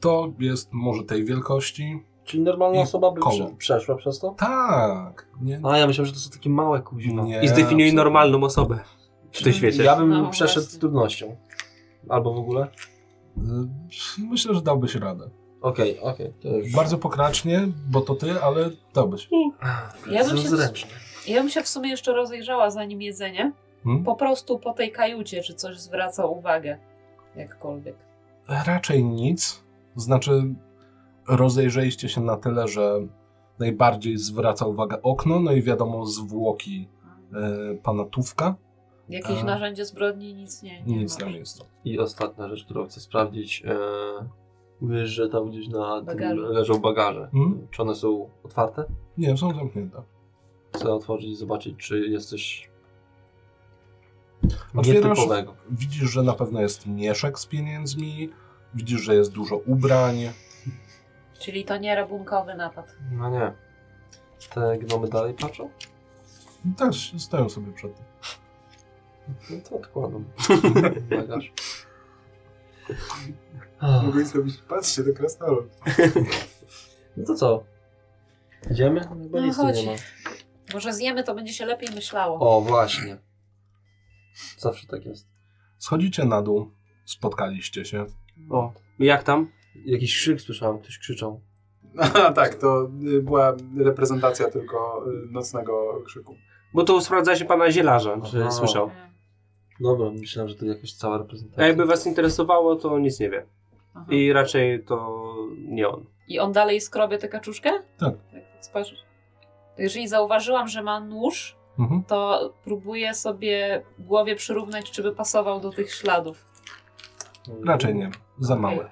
To jest może tej wielkości. Czyli normalna I osoba by koło. prze, przeszła przez to? Tak. Nie, A ja myślałem, że to są takie małe kuźwa. nie, I zdefiniuj absolutnie. normalną osobę w tym świecie. Ja bym No przeszedł właśnie. z trudnością. Albo w ogóle? Y, Myślę, że dałbyś radę. Okej, okej. to już- Bardzo pokracznie, bo to ty, ale dałbyś. Ja bym się- Zręczny. Ja bym się w sumie jeszcze rozejrzała zanim jedzenie. Hmm? Po prostu po tej kajucie, czy coś zwraca uwagę. Jakkolwiek. Raczej nic. Znaczy, rozejrzeliście się na tyle, że najbardziej zwraca uwagę okno, no i wiadomo, zwłoki y, pana Tówka. Jakieś A. narzędzie zbrodni, nic nie. nie Nic ma. tam jest. I ostatnia rzecz, którą chcę sprawdzić. E, mówisz, że tam gdzieś na tym Bagażu. leżą bagaże. Mhm. Czy one są otwarte? Nie, są zamknięte. Chcę otworzyć i zobaczyć, czy jest coś Otwierasz- nietypowego. Widzisz, że na pewno jest mieszek z pieniędzmi, widzisz, że jest dużo ubrań. Czyli to nie rabunkowy napad. No nie. Te gnomy dalej patrzą? No Tak, stoją sobie przed tym. No to odkładam. Bagaż. Mogę zrobić, patrzcie do krasnolu. No to co? Idziemy? Bo No nic tu chodź. nie ma. Może zjemy, to będzie się lepiej myślało. O, właśnie. Zawsze tak jest. Schodzicie na dół, spotkaliście się. O, jak tam? Jakiś krzyk słyszałem, ktoś krzyczał. A, tak, to y, była reprezentacja tylko y, nocnego krzyku. Bo to sprawdza się pana zielarza, czy Aha. słyszał. Mm, Dobra, myślałem, że to jakaś cała A reprezentacja. jakby was interesowało, to nic nie wie. aha. I... I raczej to nie on. on dalej skrobie tę kaczuszkę? Tak. tak spojrzysz. Jeżeli zauważyłam, że ma nóż, Mhm. to próbuję sobie w głowie przyrównać, czy by pasował do tych śladów. Raczej nie, za małe.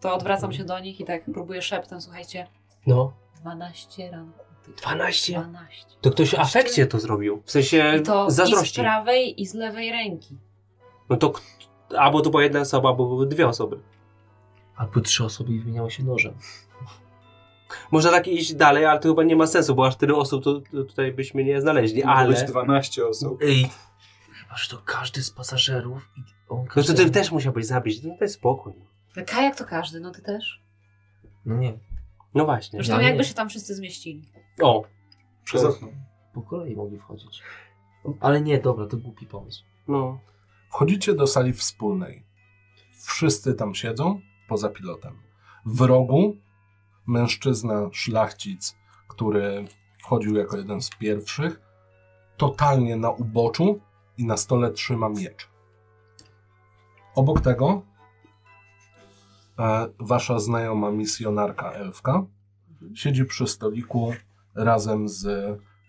To odwracam się do nich i tak próbuję szeptem, słuchajcie, No. 12 ranku. ty- 12? 12. To ktoś w afekcie to zrobił. W sensie I to i z E, zazdrości. prawej i z lewej ręki. No to k- albo to była jedna osoba, albo były dwie osoby. Albo trzy osoby i wymieniały się nożem. Można tak iść dalej, ale to chyba nie ma sensu, bo aż tyle osób to, to tutaj byśmy nie znaleźli, Mogło być ale... 12 osób. Ej, chyba, że to każdy z pasażerów i on No to ty każdemu- też musiałbyś zabić, no to jest spokój. No Kajak to każdy, no ty też. No nie, No właśnie. Zresztą Ja nie. jakby się tam wszyscy zmieścili. O, Przez okno. po kolei mogli wchodzić. Ale nie, dobra, to głupi pomysł. no. Wchodzicie do sali wspólnej. Wszyscy tam siedzą, poza pilotem. W rogu mężczyzna szlachcic, który wchodził jako jeden z pierwszych, totalnie na uboczu, i na stole trzyma miecz. Obok tego e, wasza znajoma misjonarka elfka siedzi przy stoliku razem z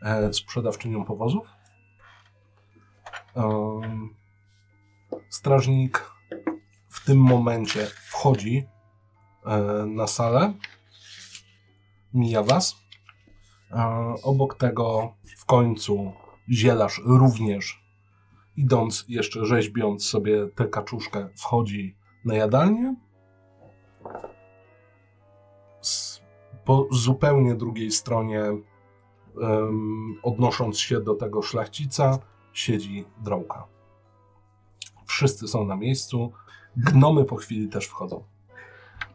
e, sprzedawczynią powozów. Em, strażnik w tym momencie wchodzi e, na salę, mija was. E, obok tego w końcu zielarz również, idąc jeszcze rzeźbiąc sobie tę kaczuszkę, wchodzi na jadalnię. Z, po zupełnie drugiej stronie, em, odnosząc się do tego szlachcica, siedzi drołka. Wszyscy są na miejscu. Gnomy po chwili też wchodzą.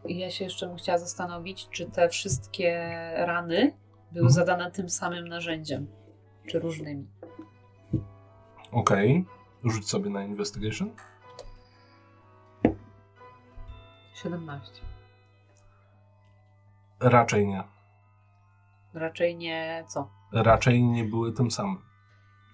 I Ja się jeszcze bym chciała zastanowić, czy te wszystkie rany były Mhm. zadane tym samym narzędziem, czy różnymi. Okej. Rzuć sobie na investigation. 17. Raczej nie. Raczej nie co? Raczej nie były tym samym.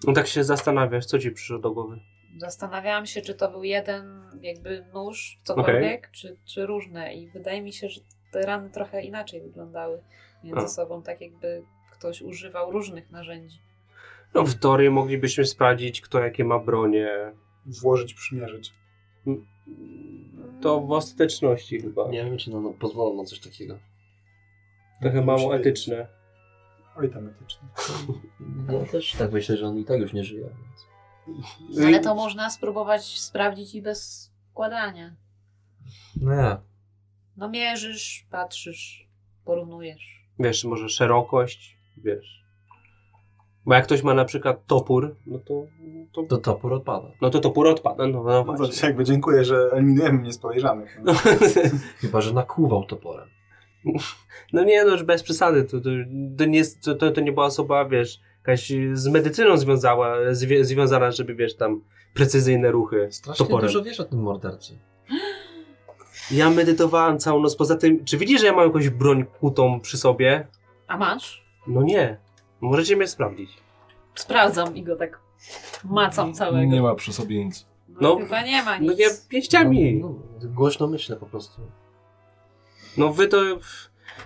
No tak się zastanawiasz, co ci przyszło do głowy? Zastanawiałam się, czy to był jeden jakby nóż, cokolwiek, czy, czy różne. I wydaje mi się, że te rany trochę inaczej wyglądały między A. sobą, tak jakby ktoś używał różnych narzędzi. No w teorii moglibyśmy sprawdzić, kto jakie ma bronie. Włożyć, przymierzyć. To w ostateczności chyba. Nie wiem, czy no, no, pozwolą na coś takiego. Trochę mało etyczne. Oj, tam etyczne. No też tak myślę, że on i tak już nie żyje. Więc... No, Ale to można spróbować sprawdzić i bez składania. Nie. No mierzysz, patrzysz, porównujesz. Wiesz, może szerokość, wiesz. Bo jak ktoś ma na przykład topór, no to... to To topór odpada. no to topór odpada, no, no No właśnie. to jakby dziękuję, że eliminujemy mnie z podejrzanych. No. Chyba, że nakuwał toporem. No nie, no już bez przesady, to, to, to, nie, jest- to- to, to nie była osoba, wiesz, jakaś z medycyną związała, zwie, związana, żeby, wiesz, tam precyzyjne ruchy Strasznie toporem. dużo wiesz o tym mordercy. Ja medytowałem całą noc, poza tym, czy widzisz, że ja mam jakąś broń kutą przy sobie? A masz? No nie. Możecie mnie sprawdzić. Sprawdzam i go tak macam całego. Nie ma przy sobie nic. No, No, chyba nie ma nic. No nie, pięściami. No, no, głośno myślę po prostu. No wy to,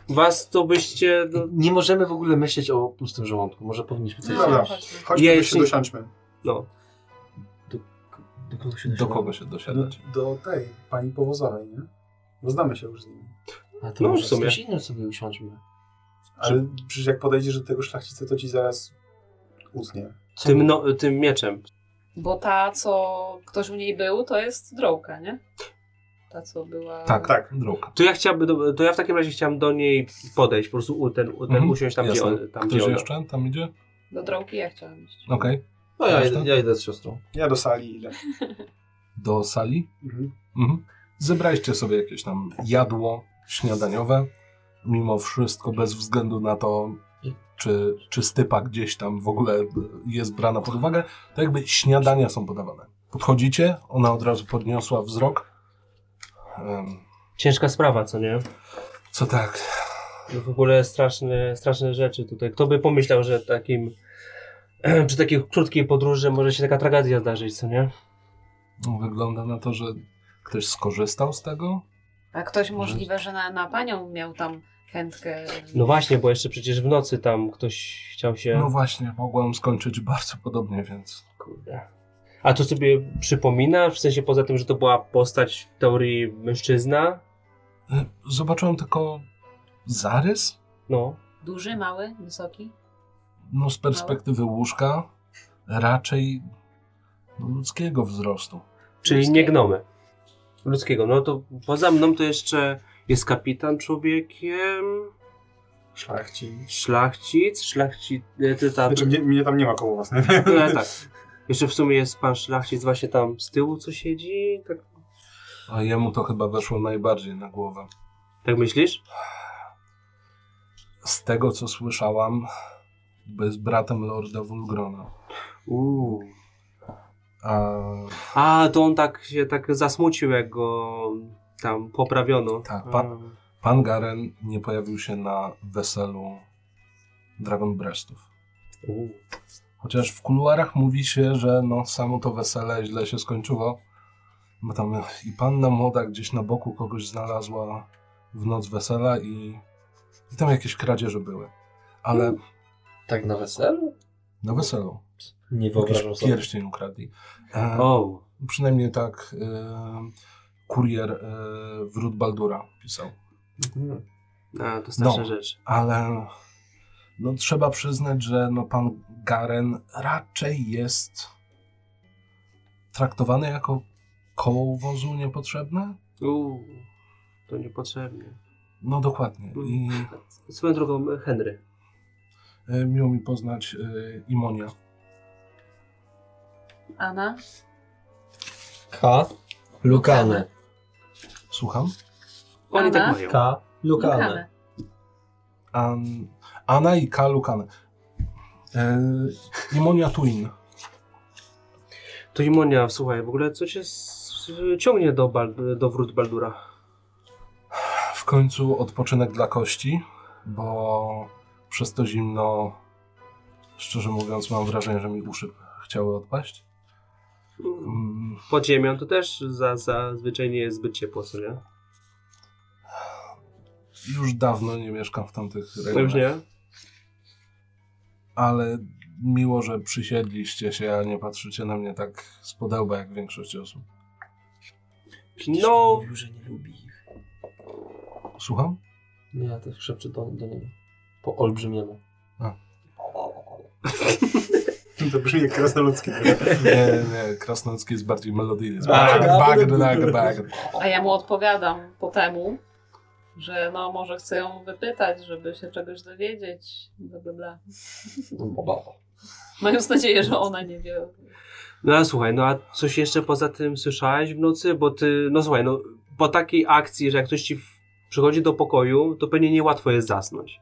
was to byście, no, Nie możemy w ogóle myśleć o pustym żołądku. Może powinniśmy coś No dobra. chodźmy. Chodźmy, Ja ja jeszcze- się dosiądźmy. no. Do kogo się Do nosiło? kogo się Do, dosiadać? No, do tej pani powozowej, nie? Bo znamy się już z nimi. A to No, może w w sumie. sumie. z kimś innym sobie usiądźmy. Ale przecież jak podejdziesz do tego szlachcica, to ci zaraz utnie. Co Tym, no, tym mieczem. Bo ta, co ktoś u niej był, to jest drołka, nie? Ta, co No, była... Tak, Tak. Druga. To ja chciałbym, do- to ja w takim razie chciałem do niej podejść, po prostu u ten, u ten Mhm, usiąść tam, gdzie, jasne. on, tam, Ktoś gdzie ona. jeszcze tam idzie? Do drołki ja chciałam iść. Okej. No ja, Reszta? idę- ja idę z siostrą. Ja do sali idę. Do sali? Mhm. Mhm. Zebraliście sobie jakieś tam jadło śniadaniowe. Mimo wszystko, bez względu na to, czy, czy stypa gdzieś tam w ogóle jest brana pod uwagę, to jakby śniadania są podawane. Podchodzicie, ona od razu podniosła wzrok. Em, Ciężka sprawa, co nie? Co tak? No w ogóle straszne, straszne rzeczy tutaj. Kto by pomyślał, że takim przy takiej krótkiej podróży może się taka tragedia zdarzyć, co nie? Wygląda na to, że ktoś skorzystał z tego. A ktoś możliwe, że na, na panią miał tam chętkę... No właśnie, bo jeszcze przecież w nocy tam ktoś chciał się... No właśnie, mogłam skończyć bardzo podobnie, więc Kurde. A to sobie przypomina, w sensie poza tym, że to była postać w teorii mężczyzna? Y, Zobaczyłem tylko zarys. No. Duży, mały, wysoki? No, z perspektywy łóżka raczej ludzkiego wzrostu. Czyli nie Ludzkiego. gnomy. Ludzkiego. No to poza mną to jeszcze jest kapitan człowiekiem, Szlachci. szlachcic, szlachcic... e, ty tam- Znaczy, mnie, mnie tam nie ma koło was. nie? No tak. Jeszcze w sumie jest pan szlachcic właśnie tam z tyłu, co siedzi. Tak, A jemu to chyba weszło najbardziej na głowę. tak myślisz? Z tego, co słyszałam, był z bratem Lorda Wulgrona. Uuu. A, A, to on tak się tak zasmucił, jak go tam poprawiono. tak, pan, pan Garen nie pojawił się na weselu Dragon Breastów. Uuu. Chociaż w kuluarach mówi się, że no, samo to wesele źle się skończyło, bo tam i panna młoda gdzieś na boku kogoś znalazła w noc wesela i, i tam jakieś kradzieże były. Ale Tak na weselu? na weselu Nie wyobrażam jakiś sobie. pierścień ukradli. E, O, Przynajmniej tak e, kurier e, wrót Baldura pisał. a, to straszna No. rzecz. ale no, trzeba przyznać, że no, pan Garen raczej jest traktowany jako koło wozu niepotrzebne. Uuu, to niepotrzebnie. No dokładnie. I Swoją drogą, Henry. e, miło mi poznać e, Imonia. Anna? K. Lukane. Słucham? Oni Aha. tak mają. K. Lukane. Lukane. An, Anna i K. Lukan. E, Imonia Twin. To Imonia, słuchaj, w ogóle co cię s- ciągnie do, Bal- do wrót Baldura? W końcu odpoczynek dla kości, bo przez to zimno, szczerze mówiąc, mam wrażenie, że mi uszy chciały odpaść. Mm, Pod ziemią to też za, zazwyczaj nie jest zbyt ciepło, co nie? Już dawno nie mieszkam w tamtych No już rejonach, nie? ale miło, że przysiedliście się, a nie patrzycie na mnie tak z podełba jak większość osób. Przecież No. on mówił, że nie lubi ich. Słucham? Nie, ja też szepczę do, do niego. Po olbrzymiemu. To brzmi jak krasnoludzki. Nie, nie, krasnoludzki jest bardziej melodyjny. Jest A, bagr, bagr, bagr, bagr. A ja mu odpowiadam po temu, że no może chcę ją wypytać, żeby się czegoś dowiedzieć. Bla, bla, bla. No, Mając nadzieję, że ona nie wie. No a słuchaj, no a coś jeszcze poza tym słyszałeś w nocy? Bo ty, no słuchaj, no po takiej akcji, że jak ktoś ci w, przychodzi do pokoju, to pewnie niełatwo jest zasnąć.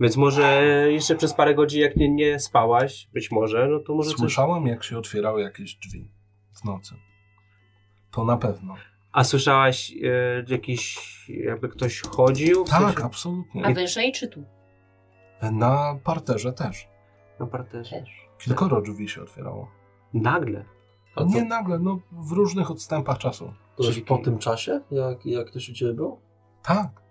Więc może jeszcze przez parę godzin, jak nie, nie spałaś, być może, no to może coś... Słyszałem, jak się otwierały jakieś drzwi w nocy. To na pewno. A słyszałaś e, jakiś, jakby ktoś chodził? W Tak, sensie- A absolutnie. wyżej czy tu? Na parterze też. Na parterze. Też. Kilkoro drzwi się otwierało. Nagle. A Nie to, nagle, no w różnych odstępach czasu. to już Czyli- po tym czasie, jak, jak ktoś u Ciebie był? Tak.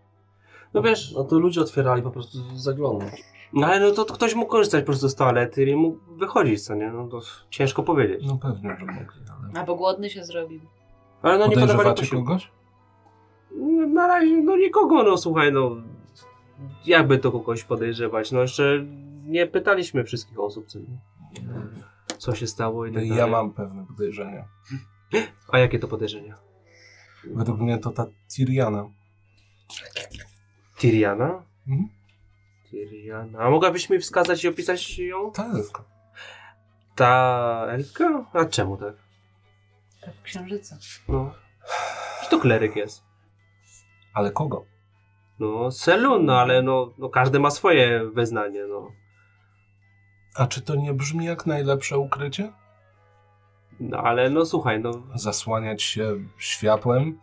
No wiesz, No to ludzie otwierali po prostu zaglądać. no ale no to ktoś mógł korzystać po prostu z toalety i mógł wychodzić, co nie? No to ciężko powiedzieć. No pewnie, że mogli, ale... Albo głodny się zrobił. Ale no nie podawali Podejrzewacie posiłku. kogoś? No, Na razie, no nikogo, no słuchaj, no. Jakby to kogoś podejrzewać? No jeszcze nie pytaliśmy wszystkich osób, co, co się stało i tak No Ja dalej. mam pewne podejrzenia. A jakie to podejrzenia? Według mnie to ta Tiriana. Tiriana? Mhm. Tiriana. A mogłabyś mi wskazać i opisać ją? Ta elfka. Ta elfka? A czemu tak? Tak w księżyca. No. Że to kleryk jest. Ale kogo? No, Selun, no ale no, no każdy ma swoje wyznanie, no. A czy to nie brzmi jak najlepsze ukrycie? No ale no słuchaj, no Zasłaniać się światłem?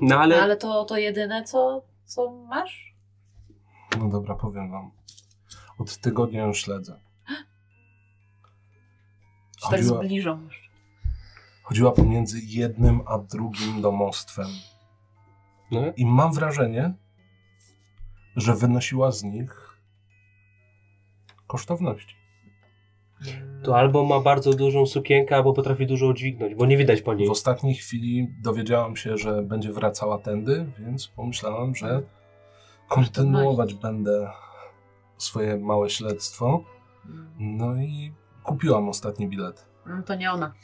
No ale, No, ale to, to jedyne, co, co masz? No dobra, powiem wam. Od tygodnia ją śledzę. Czy tak Chodziła, zbliżą jeszcze? chodziła pomiędzy jednym a drugim domostwem. No. I mam wrażenie, że wynosiła z nich kosztowności. to albo ma bardzo dużą sukienkę, albo potrafi dużo udźwignąć, bo nie widać po niej. W ostatniej chwili dowiedziałam się, że będzie wracała tędy, więc pomyślałem, że kontynuować będę swoje małe śledztwo. No i kupiłam ostatni bilet. No, to nie ona.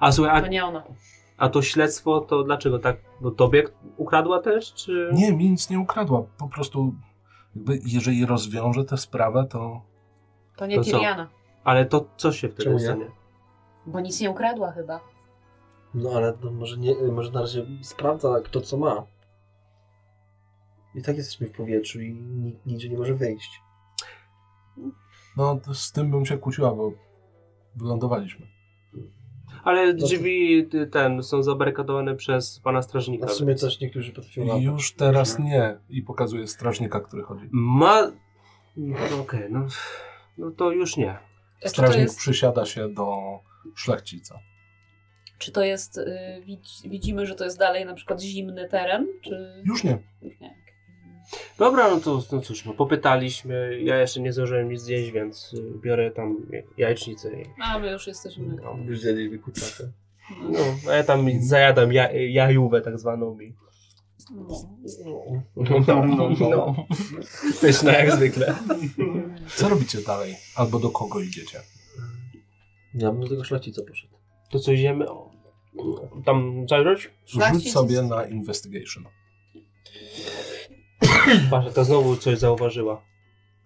A słuchaj, To nie ona. a, a to śledztwo to dlaczego tak? Bo tobie ukradła też, czy... Nie, mi nic nie ukradła. Po prostu, jakby, jeżeli rozwiążę tę sprawę, to To nie To co? Tiriana. Ale to co się wtedy Czemu nie? stanie? Bo nic nie ukradła chyba. No ale to może, nie, może na razie sprawdza kto co ma. I tak jesteśmy w powietrzu i nikt nigdzie nie może wyjść. no to z tym bym się kłóciła, bo wylądowaliśmy. Ale No to- drzwi y, ten są zabarykadowane przez pana strażnika. A w sumie więc- też niektórzy potrafią I latać. już teraz nie. I pokazuję strażnika, który chodzi. Ma... No, Okej, no, no to już nie. Czy to Strażnik jest, przysiada się do szlachcica. czy to jest y, widz- widzimy, że to jest dalej na przykład zimny teren, czy... No. Już nie. nie. Dobra, no to no cóż, no popytaliśmy. Ja jeszcze nie zdążyłem nic zjeść, więc y, biorę tam jajecznicę. I, A, my już jesteśmy... no, Już zjedliśmy kurczaka. no, a ja tam zajadam ja, jajówę tak zwaną mi. No. No, no, no. Pyszna jak zwykle. Co robicie dalej? Albo do kogo idziecie? Ja bym do tego szlachcica poszedł. To co idziemy? O, tam zajrzeć? Rzuć sobie na investigation. Patrz, ta znowu coś zauważyła.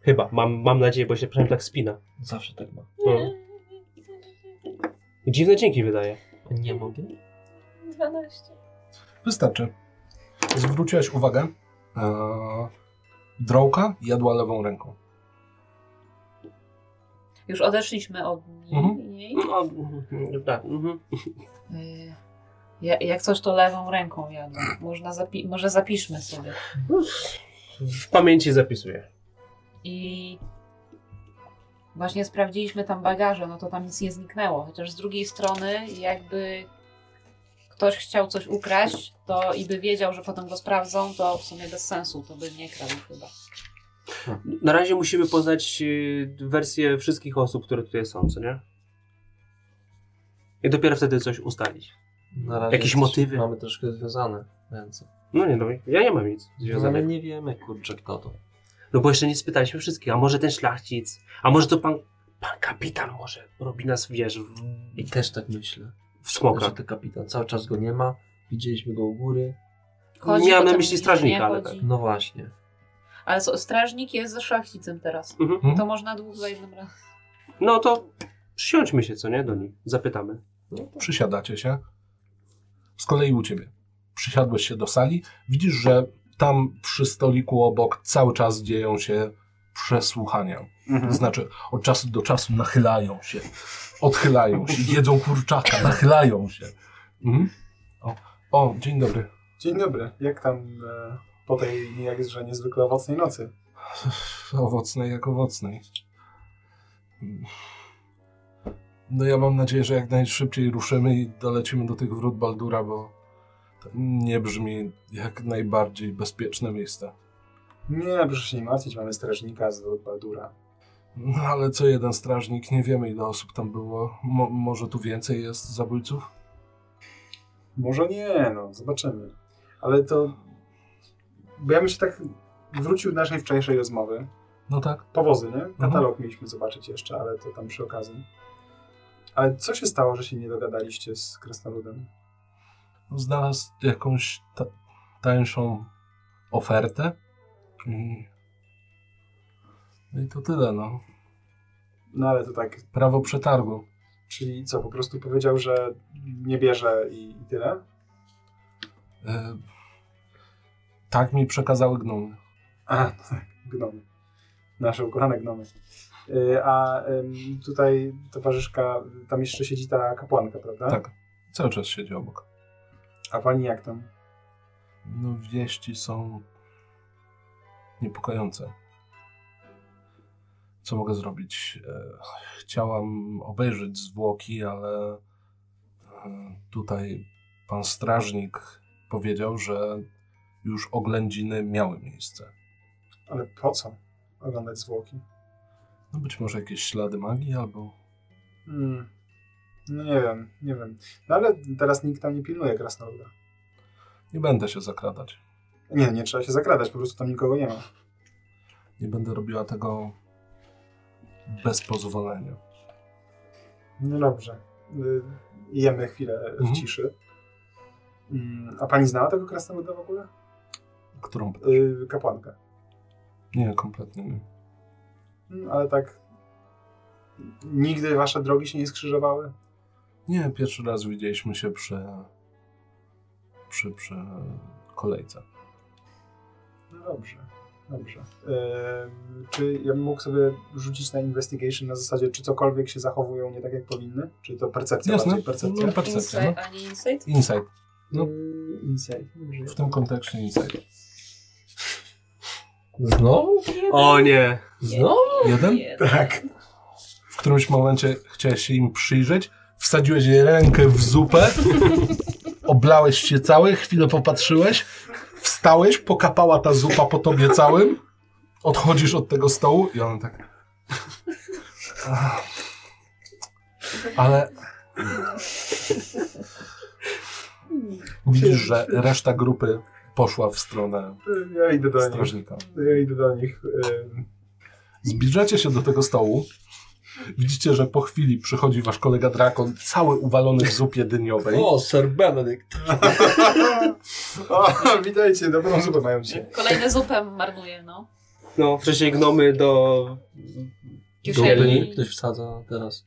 Chyba, mam, mam nadzieję, bo się przynajmniej tak spina. Zawsze tak ma. No. Dziwne dźwięki wydaje. Nie mogę? 12. Wystarczy. Zwróciłeś uwagę. Eee, drołka jadła lewą ręką. Już odeszliśmy od niej. No, mhm, tak. mhm. Y, ja- jak coś, to lewą ręką jadę. Można zapi- może zapiszmy sobie. W pamięci zapisuję. I właśnie sprawdziliśmy tam bagaże, no to tam nic nie zniknęło. Chociaż z drugiej strony, jakby ktoś chciał coś ukraść, to i by wiedział, że potem go sprawdzą, to w sumie bez sensu, to by nie kradł chyba. Na razie musimy poznać y, wersję wszystkich osób, które tutaj są, co nie? I dopiero wtedy coś ustalić. Na razie Jakieś coś motywy? Mamy troszkę związane ręce. No nie no, ja nie mam nic Związane No. związanego. nie wiemy, kurczę, kto to. No bo jeszcze nie spytaliśmy wszystkich, a może ten szlachcic, a może to pan, pan kapitan może robi nas, wiesz, w, I też tak myślę, w że smokach. ten kapitan cały czas go nie ma. Widzieliśmy go u góry. Chodzi, Miałem na potem myśli mówi, że strażnika, nie ale tak. chodzi. No właśnie. Ale co, strażnik jest ze szlachcicem teraz. Mhm. To można dwóch za jednym razem. No to przysiądźmy się, co nie, do nich. Zapytamy. Przysiadacie się. Z kolei u ciebie. Przysiadłeś się do sali. Widzisz, że tam przy stoliku obok cały czas dzieją się przesłuchania. Mhm. Znaczy, od czasu do czasu nachylają się, odchylają się, jedzą kurczaka, nachylają się. Mhm. O, o, dzień dobry. Dzień dobry. Jak tam e, po tej jakże niezwykle owocnej nocy? Owocnej jak owocnej. No ja mam nadzieję, że jak najszybciej ruszymy i dolecimy do tych wrót Baldura, bo to nie brzmi jak najbardziej bezpieczne miejsce. Nie, proszę się nie martwić, mamy strażnika z Baldura. No ale co jeden strażnik, nie wiemy ile osób tam było. Mo- może tu więcej jest zabójców? Może nie, no, zobaczymy. Ale to... Bo ja bym się tak wrócił do naszej wczorajszej rozmowy. No tak. Powozy, nie? Katalog mieliśmy zobaczyć jeszcze, ale to tam przy okazji. Ale co się stało, że się nie dogadaliście z Krasnoludem? Znalazł jakąś ta- tańszą ofertę. I... No i to tyle, no. No ale to tak, Prawo przetargu. czyli co, po prostu powiedział, że nie bierze i, i tyle? E, tak mi przekazały gnomy. A, no tak, gnomy. Nasze ukochane gnomy. Y, A ym, tutaj towarzyszka, tam jeszcze siedzi ta kapłanka, prawda? Tak. Cały czas siedzi obok. A pani jak tam? No wieści są niepokojące. Co mogę zrobić? E, chciałam obejrzeć zwłoki, ale e, tutaj pan strażnik powiedział, że już oględziny miały miejsce. Ale po co oglądać zwłoki? No być może jakieś ślady magii albo... Mm. No nie wiem, nie wiem. No ale teraz nikt tam nie pilnuje krasnoluda. Nie będę się zakradać. Nie, nie trzeba się zakradać, po prostu tam nikogo nie ma. Nie będę robiła tego bez pozwolenia. No dobrze. Y, Jemy chwilę w Mhm. ciszy. Mm, A pani znała tego krasnoluda w ogóle? Którą... Y, Kapłankę. Nie, kompletnie nie. Mm, Ale tak... Nigdy wasze drogi się nie skrzyżowały? Nie, pierwszy raz widzieliśmy się przy. przy, przy kolejce. No dobrze, dobrze. Ym, czy ja bym mógł sobie rzucić na investigation na zasadzie, czy cokolwiek się zachowują nie tak, jak powinny? Czy to percepcja bardziej? Percepcja? Mm, No, percepcja. No. Insight, a nie insight? Insight. No. Insight. Dobrze. W tym kontekście insight. Znowu? O nie. Znowu? Jeden? no. Tak. W którymś momencie chciałeś się im przyjrzeć, wsadziłeś rękę w zupę, oblałeś się cały, chwilę popatrzyłeś, wstałeś, pokapała ta zupa po tobie całym, odchodzisz od tego stołu i on tak... "Ach, Ale... Widzisz, że reszta grupy poszła w stronę Ja idę do nich. strażnika. Ja idę do nich. em, Zbliżacie się do tego stołu. Widzicie, że po chwili przychodzi wasz kolega Drakon, cały uwalony w zupie dyniowej. O, Sir Benedict. O, witajcie, dobrą zupę mają dzisiaj. Kolejne zupę marnuje, no. No, wcześniej gnomy do... Kieszeni. Ktoś wsadza teraz.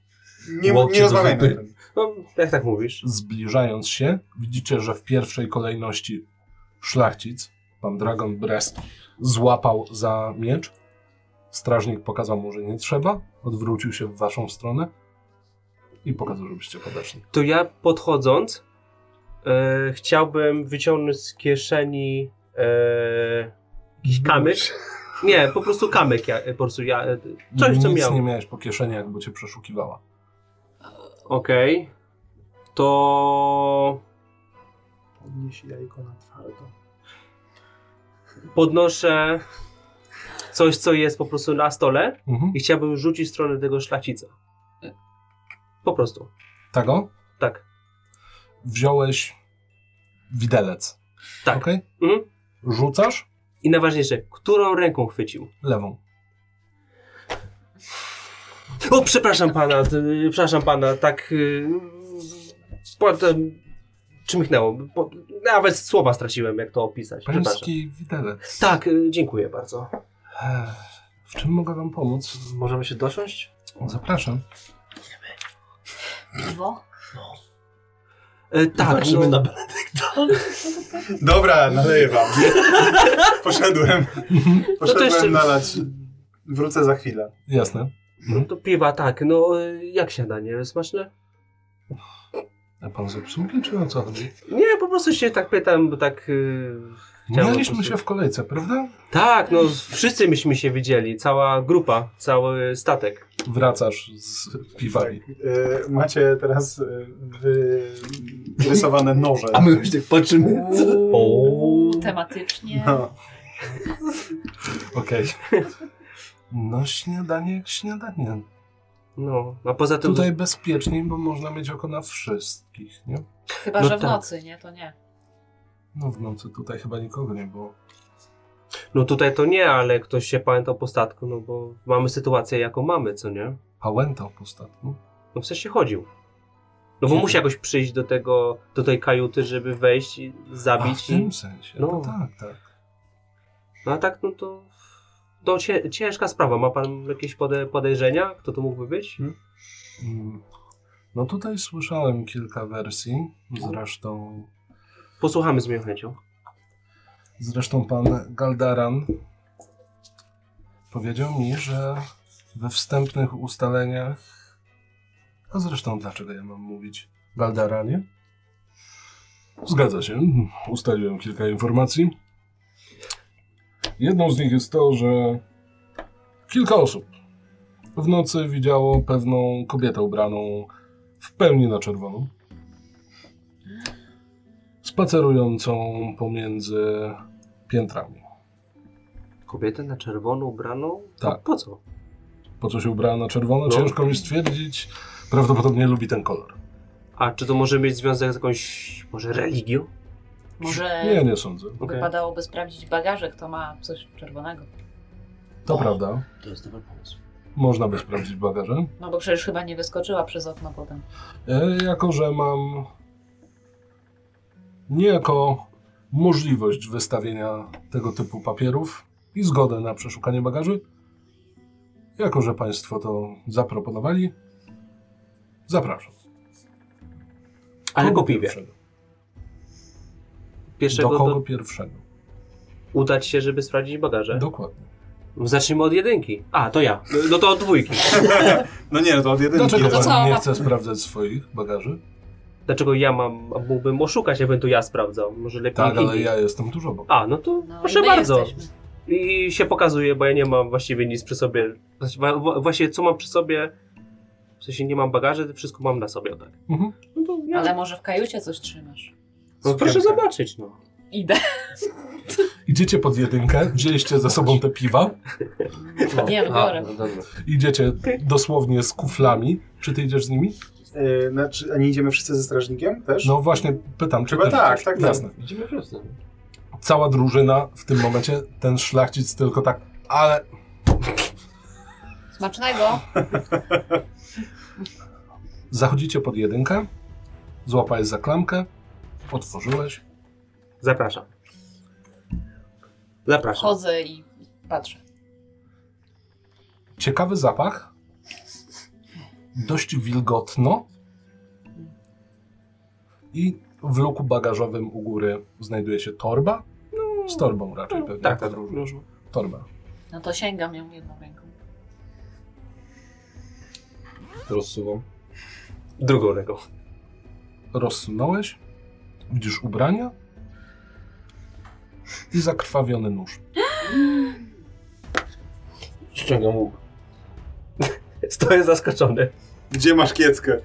Nie, Łokcie nie do rozmawiajmy o zupy. tym. No, jak tak mówisz? Zbliżając się, widzicie, że w pierwszej kolejności szlachcic, pan Dragon Brest, złapał za miecz. Strażnik pokazał mu, że nie trzeba, odwrócił się w waszą stronę i pokazał, żebyście podeszli. To ja podchodząc e, chciałbym wyciągnąć z kieszeni e, jakiś kamyk. Nie, po prostu kamyk ja, po prostu ja, e, coś Nic co nie miałem. miałeś po kieszeni, jakby cię przeszukiwała. Okej. To Podnieś jajko na twardo. podnoszę coś co jest po prostu na stole Mhm. i chciałbym rzucić w stronę tego szlacica. Po prostu. Tego? Tak. wziąłeś widelec. Tak. Okej? Mhm. Rzucasz I najważniejsze, którą ręką chwycił? lewą. O, przepraszam pana, d- przepraszam pana, tak. y, Potem. Czmychnęło. Po, nawet słowa straciłem, jak to opisać. Przepraszam. Pański widelec. Tak, y, dziękuję bardzo. Ech, W czym mogę wam pomóc? Możemy się dosiąść? Zapraszam. Piwo. Y, tak, Patrzymy no, na Dobra, naleję wam. Poszedłem. Poszedłem jeszcze- nalać. Wrócę za chwilę. Jasne. no to piwa, tak. No, y, jak siadanie? Smaczne? A pan z obsługi, czy o co chodzi? Nie, po prostu się tak pytam, bo tak. y, Chciałem po Mieliśmy prostu- się w kolejce, prawda? Tak, no, wszyscy myśmy się widzieli, cała grupa, cały statek. Wracasz z piwami. E, macie teraz e, wy... rysowane noże. A my już tak patrzymy. Uuu, tematycznie. No. Tak. Okej. No śniadanie jak śniadanie. No, a poza tym. Tutaj bezpieczniej, bo można mieć oko na wszystkich, nie? Chyba, No że w tak. nocy, nie? To nie. No w nocy tutaj chyba nikogo nie było. No tutaj to nie, ale ktoś się pamiętał po statku, no bo mamy sytuację, jaką mamy, co nie? Pałętał po statku. No w sensie chodził. No Mhm. bo musi jakoś przyjść do tego, do tej kajuty, żeby wejść i A w zabić. i... tym sensie. No No. tak, tak. No a tak, no to... To cie, ciężka sprawa. Ma pan jakieś pode, podejrzenia? Kto to mógłby być? Mm. No tutaj słyszałem kilka wersji. Zresztą, Posłuchamy z moją chęcią. zresztą pan Galdaran powiedział mi, że we wstępnych ustaleniach. A zresztą dlaczego ja mam mówić Galdaranie? Zgadza się. Ustaliłem kilka informacji. Jedną z nich jest to, że kilka osób w nocy widziało pewną kobietę ubraną w pełni na czerwono, spacerującą pomiędzy piętrami. Kobietę na czerwono ubraną? Tak. A po co? Po co się ubrała na czerwono? No. Ciężko mi stwierdzić. Prawdopodobnie lubi ten kolor. A czy to może mieć związek z jakąś, może religią? Może Nie, no. nie sądzę. Okej. wypadałoby sprawdzić bagaże, kto ma coś czerwonego. To prawda. To jest dobry pomysł. Można by sprawdzić bagaże. No bo przecież chyba nie wyskoczyła przez okno potem. E, jako, że mam niejako możliwość wystawienia tego typu papierów i zgodę na przeszukanie bagaży, jako, że Państwo to zaproponowali, zapraszam. Ale Kogo po piwie. pierwszego? Pierwszego Do do kogo pierwszego? udać się, żeby sprawdzić bagaże. Dokładnie. Zacznijmy od jedynki. A, to ja. No to od dwójki. No nie, no to od jedynki. Dlaczego To co? Pan nie chce sprawdzać swoich bagaży? Dlaczego ja mam, a mógłbym oszukać, jakbym to ja sprawdzał? Może lepiej Tak, ale inni. ja jestem dużo obok. A, no to No i proszę my bardzo. jesteśmy. I się pokazuje, bo ja nie mam właściwie nic przy sobie. Właści- wa- wa- Właśnie co mam przy sobie, w sensie nie mam bagaży, wszystko mam na sobie, tak. Mhm. No to ja, Ale może w kajucie coś trzymasz. no, proszę zobaczyć, no. Idę. Idziecie pod jedynkę, wzięliście ze sobą te piwa, Nie, biorę. no dobra. idziecie dosłownie z kuflami. Czy ty idziesz z nimi? E, znaczy, a nie idziemy wszyscy ze strażnikiem też? No właśnie, pytam, czy Chyba też tak, idziesz? tak, tak. Jasne. Idziemy wszyscy. Cała drużyna w tym momencie, ten szlachcic tylko tak, ale Smacznego. zachodzicie pod jedynkę, złapałeś za klamkę, otworzyłeś. Zapraszam. Zapraszam. Chodzę i patrzę. Ciekawy zapach, dość wilgotno i w luku bagażowym u góry znajduje się torba. Z torbą raczej pewnie. Tak, tak. podróż. Torba. No to sięgam ją jedną ręką. Rozsuwam. Drugą ręką. rozsunąłeś, widzisz ubrania i zakrwawiony nóż. Ściągam łuk. Stoję zaskoczony. Gdzie masz kieckę?